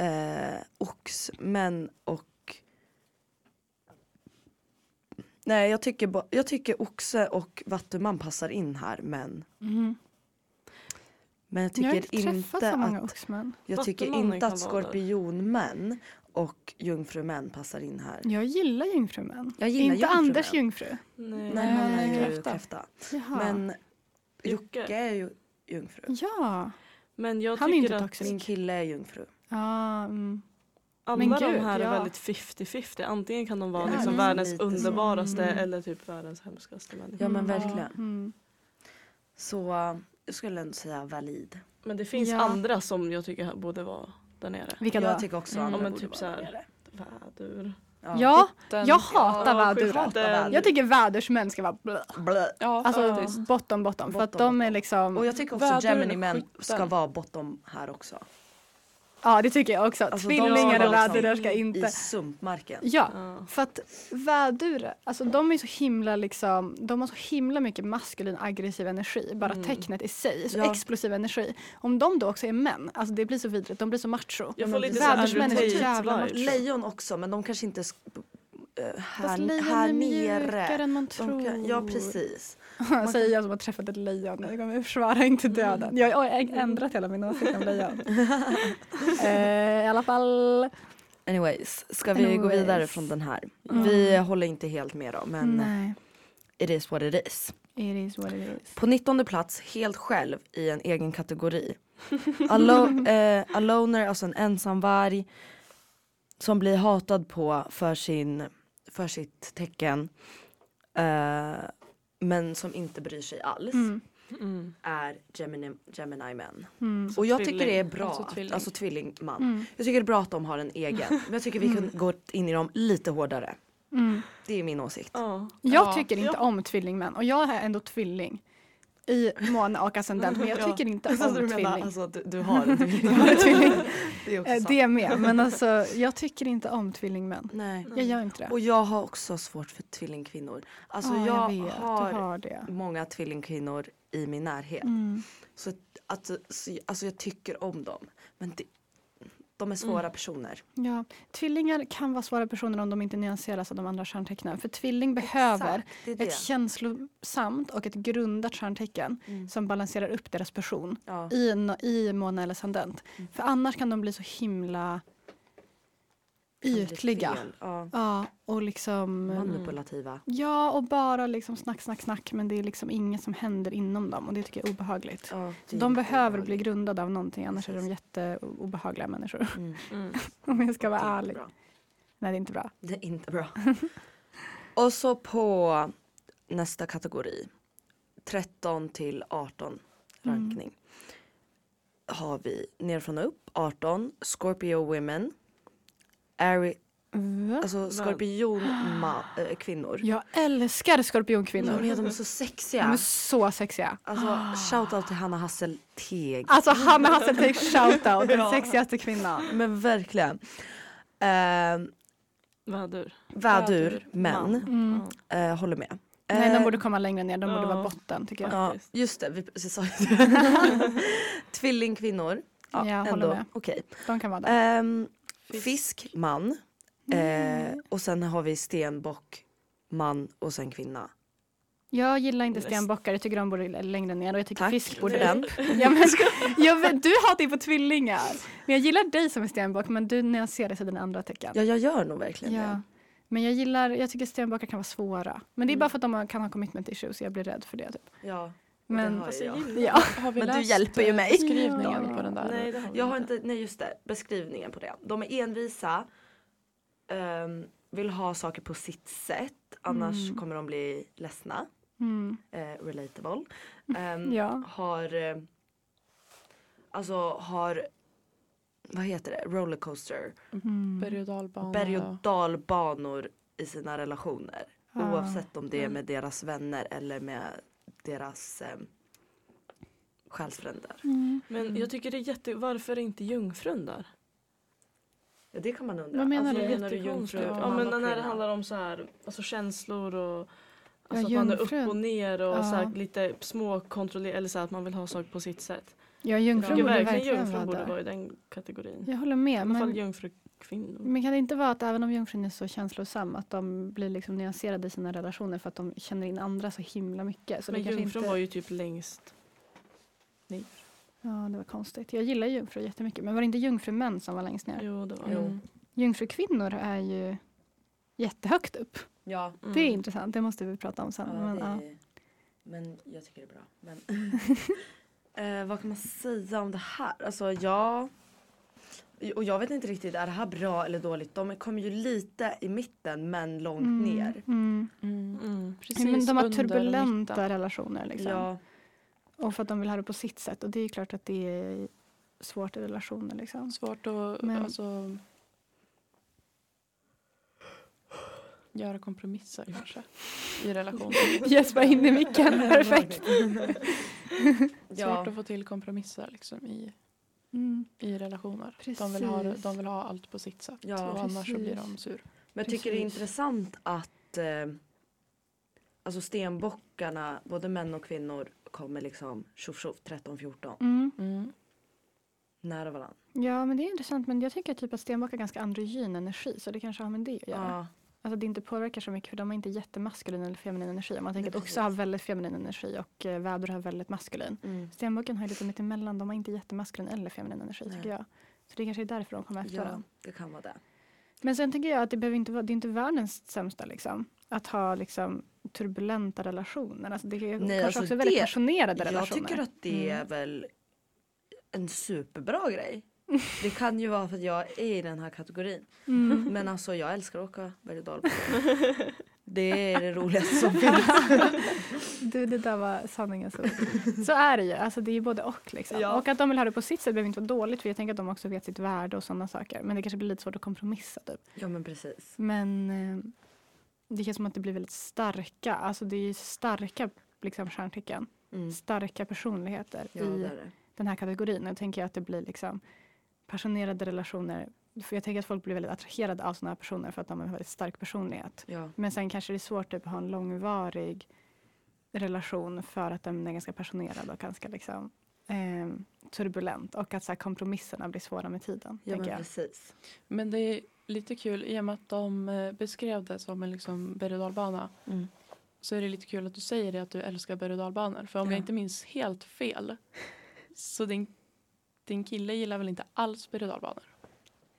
eh, oxmän och Nej jag tycker, ba- jag tycker oxe och vattuman passar in här men
Mhm.
Men jag
Jag har
tycker
inte träffat
inte
så många
att,
oxmän.
jag tycker
Vattumannen
inte
kan
att
vara där.
skorpionmän och jungfrumän passar in här.
Jag gillar jungfrumän.
Jag gillar
inte
jungfrumän.
Anders jungfru.
Nej.
Nej han är ju
Kräfta.
kräfta.
Jaha.
Men
Jocke.
Jocke är ju jungfru.
ja,
Men jag
han är
tycker
inte
att
toxic.
Min kille är jungfru.
Ja, mm.
alla
Men
de
gud,
här
ja.
är väldigt 50-50. Antingen kan de vara
Det är
liksom
lite
världens
så.
underbaraste
Mm.
eller typ världens hemskaste människa.
Ja, men
Mm,
verkligen.
Mm.
Så eh, jag skulle ändå säga valid.
Men det finns
Ja.
andra som jag tycker borde vara där nere.
Vilka då?
jag tycker också
Mm.
andra
Ja, men
borde
typ
vara
så här.
där nere.
Vädur.
Ja,
Den,
jag hatar
Ja,
vädurar.
skit.
Hatar
Jag tycker vädersmän ska vara blö.
Blä.
ja,
Alltså
faktiskt.
bottom bottom. För att
Bottom,
de är
bottom.
liksom,
Och jag tycker också
Väduren och
Gemini-män ska
skytten.
vara bottom här också.
ja det tycker jag också.
Alltså, de
Tvillingar
ska
och
vara liksom
vädurar ska
I
inte.
sumpmarken.
Ja,
Ja.
För att vädurar, alltså de är så himla liksom, de har så himla mycket maskulin aggressiv energi, bara
Mm.
tecknet i sig, så
Ja.
explosiv energi. Om de då också är män, alltså det blir så vidrigt, de blir så macho.
Jag
men
får lite så här
vädersmän är så jävla
advertise vibe.
Lejon också men de kanske inte sk- eh,
Fast
här,
lejon
här
är
nere.
mjukare än man
De
tror.
kan, ja precis.
Säger jag som har träffat ett lejon, jag kommer försvara inte döden. Jag jag har ändrat hela min åsikt om lejon. eh, I alla fall.
Anyways, ska vi gå
Anyways.
vidare från den här?
Mm.
Vi håller inte helt med då men
Nej,
it is what it is.
it is what it is.
På 19 plats helt själv i en egen kategori. Alo- eh, aloner, alltså en ensamvarg som blir hatad på för, sin, för sitt tecken eh, men som inte bryr sig alls
Mm,
Mm.
är Gemini, Gemini man.
mm,
Och jag
tvilling.
tycker det är bra,
Alltså
alltså,
tvilling.
alltså tvillingman.
mm,
Jag tycker det är bra att de har en egen men jag tycker vi kunde gått in i dem lite hårdare.
mm.
Det är min åsikt.
Ja.
Jag
Ja.
tycker inte
Ja.
om tvillingmän och jag är ändå tvilling i måne och ascendent men jag
Ja.
tycker inte om tvilling.
alltså, du, du har en tvilling.
Jag är tvilling.
det är också
Eh,
sant.
Det med, men alltså jag tycker inte om tvillingmän.
Nej.
Jag gör inte det.
Och jag har också svårt för tvillingkvinnor. Alltså
Ja,
jag,
vet,
har,
du har det.
många tvillingkvinnor i min närhet.
Mm.
Så att, att, så- alltså jag tycker om dem. Men det, de är
Mm.
svåra personer.
Ja. Tvillingar kan vara svåra personer om de inte nyanseras av de andra stjärntecknen. För tvilling behöver
Exakt, det är
ett
det.
känslosamt och ett grundat stjärntecken
Mm.
som balanserar upp deras person
Ja.
i, no- i måne eller ascendent.
Mm.
För annars kan de bli så himla ytliga.
Fel, Mm. Ja.
Ja, och liksom...
Manipulativa.
Ja, och bara liksom snack, snack, snack. Men det är liksom inget som händer inom dem och det tycker jag är obehagligt.
Ja, det är
De
inte
behöver bli
obehagligt.
grundade av någonting annars är de
Precis.
jätteobehagliga människor.
Mm.
Mm.
Om jag ska vara
Det är
ärlig.
inte bra.
Nej, det är inte bra.
Det är inte bra. Och så på nästa kategori. 13 till 18 rankning.
Mm.
Har vi nerifrån och upp 18 Scorpio women. Ari, alltså skorpion ma- äh, kvinnor.
Mm. Jag älskar
De
skorpionkvinnor.
är, de är så
De
sexiga.
är så Ah. sexiga.
Alltså shoutout till Hanna Hasselteg.
Alltså Hanna Hasselteg, shoutout. Den sexigaste kvinnan.
Men verkligen. Eh,
Vädur.
vädur,
Vädur,
men
Mm.
Ja.
eh, håller med.
Nej,
Eh,
de borde komma längre ner. De borde
ja.
vara botten tycker jag.
Ja,
Faktiskt.
just det. Vi precis sa ju det. Tvillingkvinnor.
Ja, jag håller med.
Okej.
De kan vara där.
Ehm,
Fisk.
fisk, man. Eh, och sen har vi stenbock, man och sen kvinna.
Jag gillar inte
Näst-
stenbockar. Jag tycker de borde längre ner och jag tycker
Tack
fisk
för
borde
den.
Ja, men, jag vet, du hatar ju på tvillingar. Men jag gillar dig som är stenbock men du nyanserar sig dina andra tecken.
Ja, jag gör nog verkligen
Ja.
det. Mm.
Men jag gillar, jag tycker stenbockar kan vara svåra. Men det är bara för att de har- kan ha commitment issues så jag blir rädd för det. Typ.
Ja,
Men,
det har
Alltså,
jag.
gillar-
ja.
Har vi
Men du
läst,
hjälper ju
eh,
mig.
Beskrivningen
Ja.
på den där.
Nej, det har vi
Jag har inte, nej just det, beskrivningen på det. De är envisa, ehm, vill ha saker på sitt sätt annars
Mm.
kommer de bli ledsna.
Mm,
Eh, relatable. Ehm,
ja.
har eh, alltså har vad heter det rollercoaster
Mm.
Berg och dalbana. Mm.
berg och dalbanor i sina relationer.
Ja.
Oavsett om det
Mm.
är med deras vänner eller med deras eh, själsfränder.
Mm.
Men
Mm.
jag tycker det är jätte... Varför är inte jungfrun där?
Ja, det kan man undra.
Vad menar
Alltså,
du?
det är
menar du
jättekonstigt.
jungfru,
Ja
man
men
och
när det
kvinna?
handlar om så här, alltså känslor och
Ja,
Alltså att man är upp
jungfrun.
och ner och
Ja.
så här, lite småkontrollerad eller så här, att man vill ha saker på sitt sätt.
Ja,
Jag
jungfrun
tycker
borde
verkligen
verkligen
jungfrun
vara
borde vara
där.
i den kategorin.
Jag håller
I
med.
alla fall
Men,
jungfrukvinnor.
men kan det inte vara att även om jungfrun är så känslosam att de blir liksom nyanserade i sina relationer för att de känner in andra så himla mycket. Så
Men
det kanske
jungfrun
inte...
var ju typ längst ner.
Ja, det var konstigt. Jag gillar jungfrur jättemycket. Men var det inte jungfrumän som var längst ner?
Jo det var
Jo.
Mm.
Jungfrukvinnor är ju jättehögt upp.
Ja,
Mm.
Det är intressant. Det måste vi prata om sen. men, ja.
men jag tycker det är bra. Men, eh, vad kan man säga om det här? Alltså ja. Och jag vet inte riktigt, är det här bra eller dåligt? De kommer ju lite i mitten men långt
Mm,
ner.
Mm.
Mm.
Mm.
Precis
Ja, men de har
under
turbulenta
mitten.
relationer. Liksom.
Ja,
Och för att de vill ha det på sitt sätt. Och det är klart att det är svårt i relationer. Liksom.
Svårt att
Men-
alltså, göra kompromisser kanske i relationer.
Jesper in i micken, perfekt.
Svårt
ja.
att få till kompromisser liksom, i,
Mm.
i relationer. De vill, ha,
Precis.
de vill ha allt på sitt sätt
Ja.
och annars så blir
Precis.
de sur.
Men jag tycker det är
Precis.
intressant att eh, alltså stenbockarna, både män och kvinnor kommer liksom tjoff tjoff 13-14
Mm.
Mm.
nära varandra.
Ja, men det är intressant. Men jag tycker typ att stenbock har ganska androgyn energi. Så det kanske har med det att göra.
Ja.
Alltså det inte påverkar så mycket för de har inte jättemaskulin eller feminin energi. Om man tänker
Nej,
att också har väldigt feminin energi och eh, väder har väldigt maskulin.
Mm.
Stenbocken har ju lite mittemellan. De har inte jättemaskulin eller feminin energi tycker
Nej.
jag. Så det kanske är därför de kommer efter varandra.
ja, det kan vara det.
Men sen tänker jag att det, behöver inte vara, det är inte världens sämsta liksom. Att ha liksom turbulenta relationer. Alltså det är
Nej,
kanske
alltså
också väldigt
det-
passionerade
Jag
relationer.
tycker att det är
Mm.
väl en superbra grej. Det kan ju vara för att jag är i den här kategorin.
mm.
Men alltså jag älskar att åka berg och dalbana. Det är det roligaste som finns.
du, det där var sanningen. Så, så är det ju. Alltså det är ju både och. Liksom.
Ja.
Och att de vill ha det på sitt sätt behöver inte vara dåligt. För jag tänker att de också vet sitt värde och sådana saker. Men det kanske blir lite svårt att kompromissa typ.
Ja men precis.
Men eh, det känns som att det blir väldigt starka, alltså det är ju starka liksom, stjärntecken.
Mm.
Starka personligheter
Ja,
i
det är det.
den här kategorin. Och tänker jag att det blir liksom passionerade relationer. För jag tänker att folk blir väldigt attraherade av sådana här personer för att de har en väldigt stark personlighet.
Ja.
Men sen kanske det är svårt typ, att ha en långvarig relation för att den är ganska passionerad och ganska liksom, eh, turbulent. Och att så här, kompromisserna blir svåra med tiden.
ja
tänker
men
jag.
precis.
Men det är lite kul i och med att de eh, beskrev det som en liksom berg och dalbana
Mm.
så är det lite kul att du säger det att du älskar berg och dalbanor. För om
Ja.
jag inte minns helt fel så din, din kille gillar väl inte alls berg och dalbanor?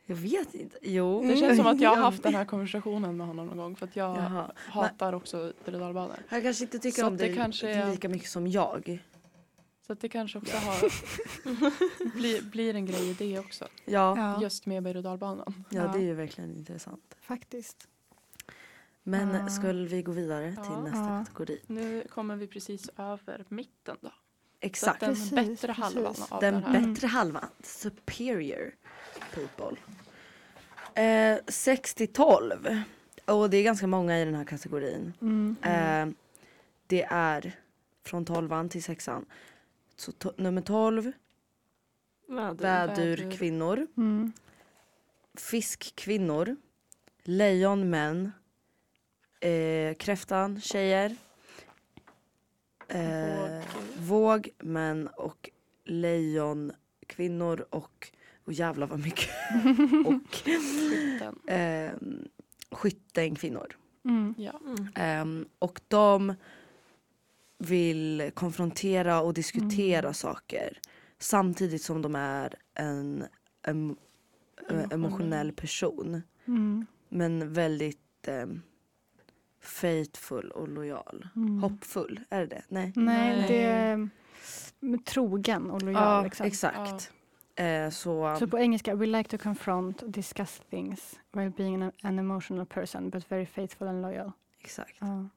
Jag vet inte. Jo.
Det känns som att jag har haft den här konversationen med honom någon gång för att jag
Jaha.
hatar också berg och dalbanor.
Han kanske inte tycker
Så
om
att det
dig
kanske är-
lika mycket som jag.
Så att det kanske också har, blir, blir en grej i det också.
Ja,
Ja,
Just med berg och dalbanan.
ja
Ja.
det är ju verkligen intressant.
faktiskt.
Men
Ja.
skulle vi gå vidare till
Ja.
nästa
Ja.
kategori?
Nu kommer vi precis över mitten då. Så att
Exakt.
den Mm.
Precis,
bättre
precis.
halvan av den,
Den
här.
bättre halvan, superior people. Eh, 6 till 12. Och det är ganska många i den här kategorin.
Mm.
Eh, det är från 12 till 6 Så to- nummer 12,
Väder.
Vädur.
vädurkvinnor.
Mm.
Fiskkvinnor. Lejonmän. Eh, kräftan, tjejer. Eh, våg, män och lejonkvinnor och, och jävlar vad mycket. och
Skiten.
eh, skyttenkvinnor.
Mm.
Ja.
Mm.
Ehm, och de vill konfrontera och diskutera saker samtidigt som de är en em,
Emotionell.
eh, emotionell person.
Mm.
Men väldigt um, faithful och lojal.
Mm.
Hoppfull, är det det? Nej.
Nej,
Nej.
det är mm, trogen och lojal.
ja,
liksom.
exakt. Eh, så,
Så på engelska, we like to confront, discuss things while being an, an emotional person but very faithful and loyal.
exakt.
Ja.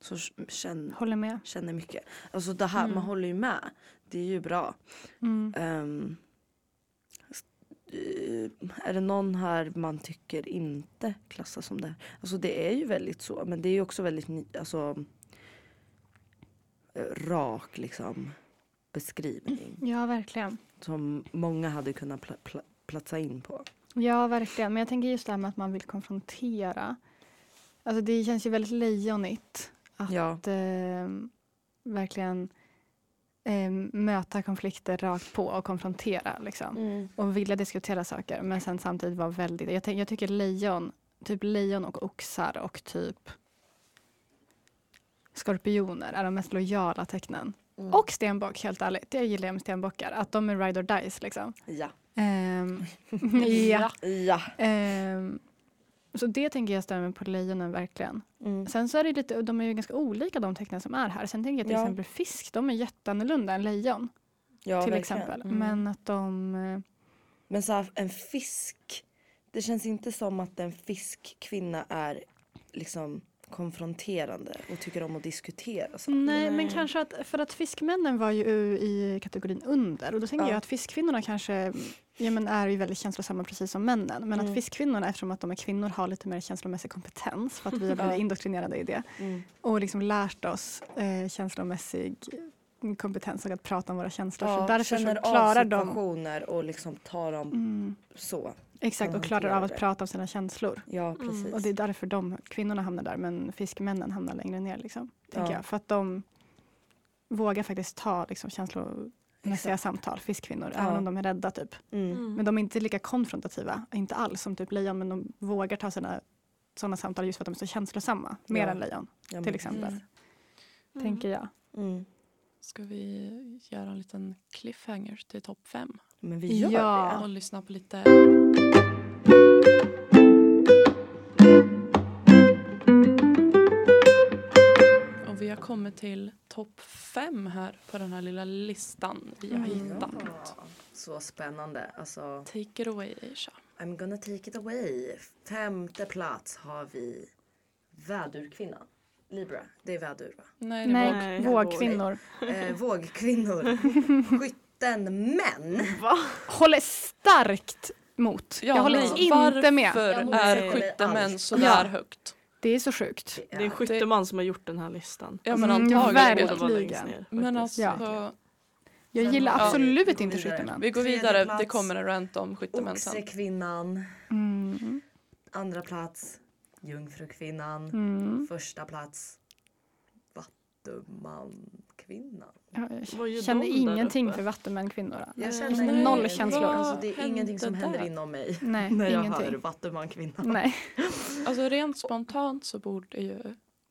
Så känn,
Håller med.
känner mycket. Alltså det här,
Mm.
Äh. man håller ju med. Det är ju bra.
Mm.
Ehm, eh, är det någon här man tycker inte klassas som det här? Alltså det är ju väldigt så men det är ju också väldigt ny, alltså, eh, rak liksom beskrivning
Ja, verkligen.
som många hade kunnat pla, pla, platsa in på.
Ja, verkligen. Men jag tänker just det här med att man vill konfrontera. Alltså det känns ju väldigt lejonigt att
Ja.
eh, verkligen eh, möta konflikter rakt på och konfrontera. Liksom. Och vilja diskutera saker men sen samtidigt vara väldigt... Jag, tänk, jag tycker lejon, typ lejon och oxar och typ skorpioner är de mest lojala tecknen. Och stenbock, helt ärligt. Jag gillar med stenbockar, att de är ride or dies. Liksom.
Ja.
Ehm, ja.
Ja.
Ehm, så det tänker jag stämmer på lejonen verkligen.
Mm.
Sen så är det lite, de är ju ganska olika de tecknen som är här. Sen tänker jag till
Ja.
exempel fisk, de är jätteannorlunda än lejon.
Ja,
till
verkligen.
exempel.
Mm.
Men att de... eh,
Men så här, en fisk. Det känns inte som att en fiskkvinna är liksom konfronterande och tycker om att diskutera saker.
Nej, men kanske att, för att fiskmännen var ju i kategorin under och då tänker
Ja.
jag att fiskkvinnorna kanske ja, men är ju väldigt känslosamma precis som männen. Men
Mm.
att fiskkvinnorna, eftersom att de är kvinnor, har lite mer känslomässig kompetens för att vi har
Ja.
blivit indoktrinerade i det
Mm.
och liksom lärt oss eh, känslomässig kompetens och att prata om våra känslor.
Ja,
så därför
känner
så klarar
av
de...
situationer och liksom tar dem
Mm,
så.
exakt,
Kan
och klarar
hantera
av
det.
att prata om sina känslor.
Ja, precis.
Och det är därför de kvinnorna hamnar där men fiskmännen hamnar längre ner. Liksom, tänker
Ja.
jag. För att de vågar faktiskt ta liksom, känslomässiga
Exakt.
samtal, fiskkvinnor,
Ja.
även om de är rädda. Typ.
Mm.
Mm.
Men de är inte lika konfrontativa, inte alls som typ lejon men de vågar ta sina sådana samtal just för att de är så känslosamma, mer
Ja.
än lejon
Ja, men
till exempel.
precis.
Mm.
Tänker jag.
Mm.
Ska vi göra en liten cliffhanger till topp fem?
Men vi gör
Ja.
Och lyssna på lite... Och vi har kommit till topp fem här på den här lilla listan vi har
Mm.
det.
hittat.
Ja. Så spännande. Alltså,
Take it away Aisha.
I'm gonna take it away. Femte plats har vi väderkvinnan. Libra, det är vädur va?
Nej, det
Nej,
var
Mm. Nej,
vågkvinnor.
Eh, vågkvinnor. Skytten män.
Håller starkt emot.
Ja,
jag håller
nej,
inte med.
Varför
Jag håller
är
inte med
skyttemän
alls.
sådär
Ja.
högt?
Det är så sjukt.
Det
Det är en
är-
skytteman som har gjort den här listan.
Ja men
Mm,
antagligen.
verkligen. verkligen.
Men alltså,
Ja.
Sen
Jag gillar
har vi-
absolut
vi
inte
går vidare.
skyttemän.
vi går
Tredje
vidare.
plats.
Det kommer en rant om skyttemän sen.
Oxekvinnan.
Mm.
Andra plats. Jungfrukvinnan.
Mm.
Första plats. Vattumankvinnan.
Ja,
Var ju
Jag känner
de där
ingenting
uppe?
för vattenmän-kvinnor.
Jag
känner noll känslor.
Alltså, det
Vad
är ingenting som
hände
händer
där?
inom mig.
Nej,
När jag hör
ingenting.
Vattumankvinnan.
Nej.
Alltså rent spontant så borde ju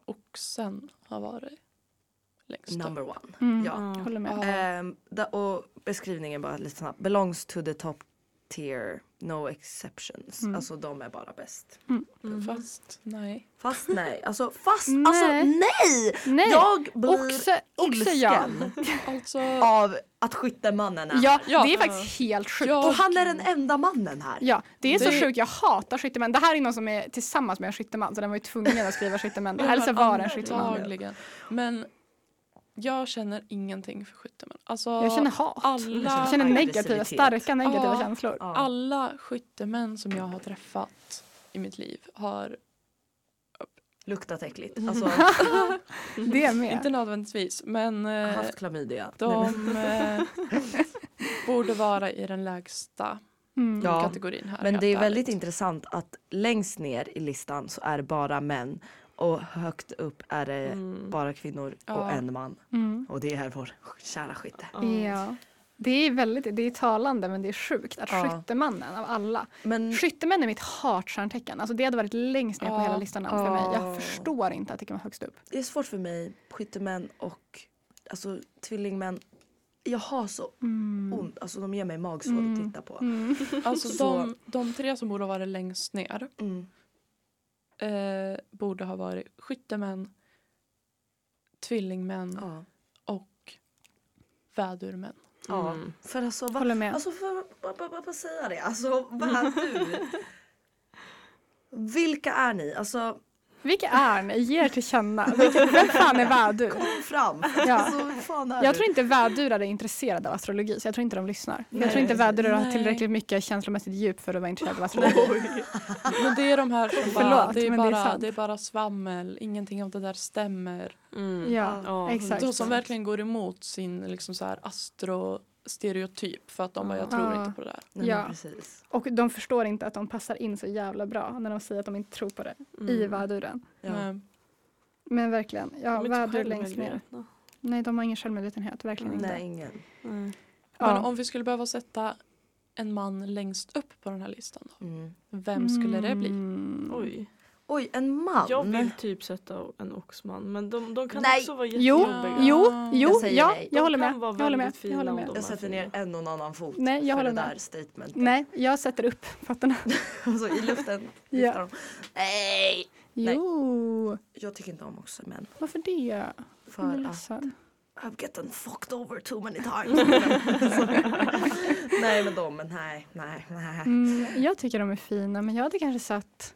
oxen ha varit längst upp.
Number one.
Mm.
Ja.
Ja.
Håller med.
Ja.
Ehm, da, och beskrivningen bara lite snabbt. Belongs to the top tier. No exceptions.
Mm.
Alltså de är bara bäst.
Mm.
mm. Fast nej.
Fast nej. Alltså fast.
Nej.
Alltså nej!
Nej,
Jag blir
också, också jag.
ilsken
Alltså,
av att skyttemannen är.
Ja,
Ja.
det är faktiskt helt sjukt.
Ja.
Och han är den enda mannen här.
Ja, det är så
Det-
sjukt. Jag hatar skyttemän. Det här är någon som är tillsammans med en skytteman så den var ju tvungen att skriva skyttemän. Det här är så vara en skytteman.
Antagligen. Men jag känner ingenting för skyttemän. Alltså,
Jag känner hat.
alla,
Jag känner negativa,
Aggressivitet.
starka negativa
Ja.
känslor.
Ja.
alla skyttemän som jag har träffat i mitt liv har,
Luktat äckligt.
Mm.
Alltså
Det
inte
är med.
nödvändigtvis, men eh,
Ah, haft klamydia.
de eh, borde vara i den lägsta
Mm.
Ja.
kategorin här.
Men
helt
det är väldigt
ärligt.
intressant att längst ner i listan så är det bara män och högt upp är det
Mm.
bara kvinnor
Ja.
och en man.
Mm.
Och det är vår kära skytte.
Mm.
Ja. Det är väldigt, det är talande men det är sjukt att
Ja. Mm.
skyttemannen av alla
Men
Skyttemän är mitt hatstjärntecken. Alltså det hade varit längst ner på
Ja.
hela listan för mig.
Ja.
Jag förstår inte att det kan vara högst upp.
det är svårt för mig, skyttemän och alltså, tvillingmän. Jag har så
Mm.
ont, alltså de ger mig magsår att
Mm.
titta på.
Mm.
Alltså
Så-
de, de tre som borde ha varit längst ner
Mm.
eh, borde ha varit skyttemän, tvillingmän
Ja.
och vädurmän.
Ja.
Mm.
För alltså, va,
Håller med.
Alltså för vad va, va, vad säga det? Alltså vad du? Vilka är ni? Alltså
Vilka är ni? Ge er till känna. Vilka, vem fan är vädur?
Kom fram!
Ja.
Så fan är
Jag
du?
tror inte vädurar är intresserade av astrologi så jag tror inte de lyssnar.
Nej.
Jag tror inte vädurar har
Nej.
tillräckligt mycket känslomässigt djup för att vara intresserade av astrologi.
Ah.
Men det är de här som bara,
Förlåt,
det, är
men det
bara
är
det, är
sant.
bara svammel, ingenting av det där stämmer.
Mm.
Ja,
Ja,
exakt.
De som verkligen går emot sin liksom så här astrostereotyp för att de bara, jag tror
Ja.
Ah.
inte på det där.
Nej,
Ja.
men precis.
Och de förstår inte att de passar in så jävla bra när de säger att de inte tror på det
mm.
Mm.
i väduren.
Ja.
Men,
Men verkligen, ja,
De är inte
vädur längst ner.
självmedvetna.
Nej, de har ingen självmedvetenhet, verkligen
Nej,
inte.
ingen.
Nej.
Ja.
men om vi skulle behöva sätta en man längst upp på den här listan, då,
Mm.
vem skulle det bli?
Mm.
Oj.
Oj, en man?
Jag vill typ sätta en oxman men de, de kan
Nej.
också vara
Jo,
jättejobbiga.
jo, jo,
Jag
ja,
säger nej.
De
jag håller
kan
med.
vara
Jag håller med.
väldigt
Jag håller
fina
med.
om de
jag
är
sätter ner
fina.
en och en annan fot
Nej, jag
för
håller
det
med.
där statementet.
Nej, jag sätter upp fötterna.
Och så i luften
Ja.
viftar de. Nej! Nej.
Jo,
Jag tycker inte om också män.
varför det? Jag blir
För att
ledsen.
I've gotten fucked over too many times. nej men de, men nej, nej, nej.
Mm, jag tycker de är fina men jag hade kanske satt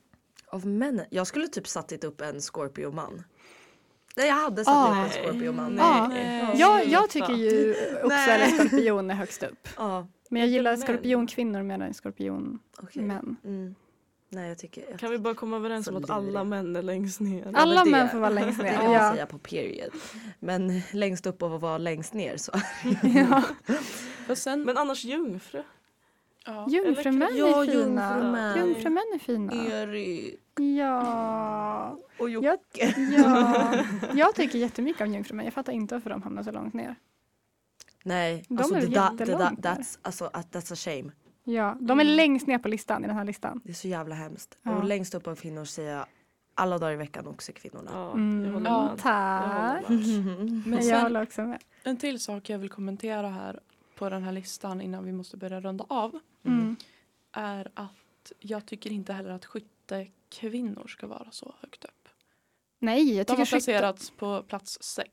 Av
Mm.
männen, jag skulle typ sattit upp en scorpioman. Nej jag hade satt
Ah.
upp en scorpioman.
Nej.
Ja.
Nej.
jag, jag tycker ju också
Nej.
att skorpion är högst upp.
Ja,
Men jag gillar
män.
skorpionkvinnor mer än skorpionmän.
okej. Mm. Nej jag tycker... Jag,
Kan vi bara komma överens om
Så
att alla
lirig.
män är längst ner?
men
Alla
det-
män får vara längst
det
ner.
kan man
Ja.
säga på period. Men längst upp och vara längst ner så.
Ja.
För sen,
Men annars jungfru?
ja.
Jungfrumän
Ja,
är fina.
jungfrumän.
Jungfrumän är fina.
Erik
Ja.
och Jocke.
Jag, ja. jag tycker jättemycket om jungfrumän. Jag fattar inte varför de hamnar så långt ner.
Nej,
De
alltså,
är
det
väl
där- det där,
jättelångt där.
that's, alltså, att- that's a shame.
Ja, de är
Mm.
längst ner på listan i den här listan.
Det är så jävla hemskt.
Ja.
Och längst upp av kvinnor säger jag alla dagar i veckan också kvinnorna.
Ja, jag
Mm.
håller
Ja.
med. Jag
Tack. Mm.
håller med.
men
jag
sen,
håller också med.
en till sak jag vill kommentera här på den här listan innan vi måste börja runda av
Mm.
är att jag tycker inte heller att skyttekvinnor ska vara så högt upp.
Nej, jag
De
tycker
har
skytte...
placerats på plats sex.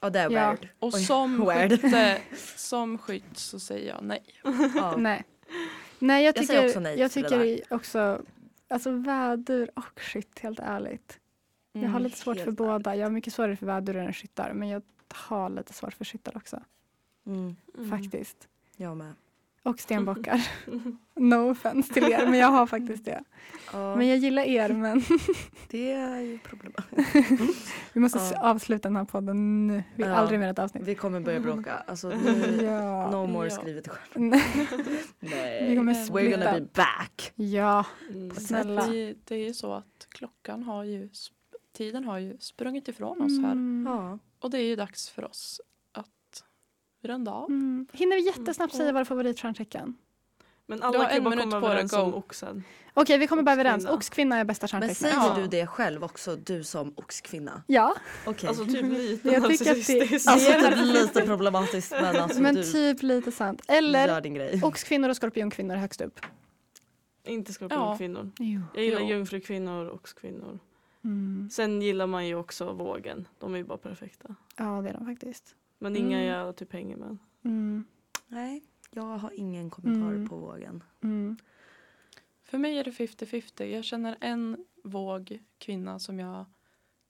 Ja det är
Ja.
weird.
Och
Oj,
som,
weird.
skytte, som skytt så säger jag nej.
Ja.
Nej. Nej, jag
Jag
tycker,
säger
jag
också nej till det
tycker också, alltså vädur och skytt helt ärligt. Jag har
Mm.
lite svårt för
helt
båda. Jag har mycket svårare för vädur än skyttar, men jag har lite svårt för skyttar också
Mm,
faktiskt.
jag med.
Och stenbockar. no offense till er, men jag har faktiskt det.
Ja,
Men jag gillar er, men
det är ju problem.
vi måste
Ja.
avsluta den här podden nu. Vi har
Ja.
aldrig mer ett avsnitt.
Vi kommer börja bråka. Alltså, nu,
Ja.
no more
Ja.
skrivet själv.
Nej, vi
Nej.
kommer
We're gonna be
splitta.
back.
Ja,
Mm.
snälla.
Det, det är ju så att klockan har ju, sp- tiden har ju sprungit ifrån oss här.
Mm.
Ja.
Och det är ju dags för oss att runda av.
Mm. Hinner vi jättesnabbt
Mm.
säga vår favoritstjärntecken?
Men
Du har
alla
en
kan bara
minut
komma
på dig,
överens
go.
om oxen.
Okej, vi kommer bara överens.
Oxkvinna.
Oxkvinna är bästa
Men
stjärntecknet.
säger
Ja.
du det själv också, du som oxkvinna?
Ja,
Okej.
Alltså typ lite
Mm. Jag tycker att det- Alltså,
narcissistisk.
det är typ lite problematiskt men alltså
men
du
typ lite sant.
gör
Eller
din grej.
oxkvinnor och skorpionkvinnor högst upp.
Inte
Ja.
skorpionkvinnor.
Jo.
Jag gillar
Jo.
jungfrukvinnor och oxkvinnor.
Mm.
Sen gillar man ju också vågen. De är ju bara perfekta.
Ja, det är de faktiskt.
Men
Mm.
inga jag typ hänger med.
Mm.
Nej, jag har ingen kommentar
Mm.
på vågen.
Mm.
För mig är det 50-50. Jag känner en våg kvinna som jag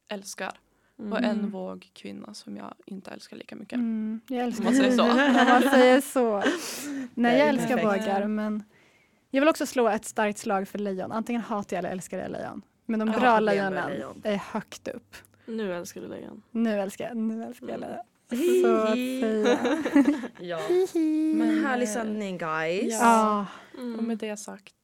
älskar
Mm.
och en
Mm.
våg kvinna som jag inte älskar lika mycket.
Mm. Jag älskar
Om man säger så.
Om man säger så. Nej, jag
är
älskar
perfekt.
bågar, men jag vill också slå ett starkt slag för lejon. Antingen hatar jag eller älskar jag lejon. Men de
Jag
bra
hatar lejon.
lejonen är högt upp.
Nu älskar du lejon.
Nu älskar jag, nu älskar
Mm.
jag lejon.
Hihi.
Så att säga.
Ja.
Hihi.
Men
Men,
härlig
eh,
sändning guys.
ja.
Ja.
Och med det sagt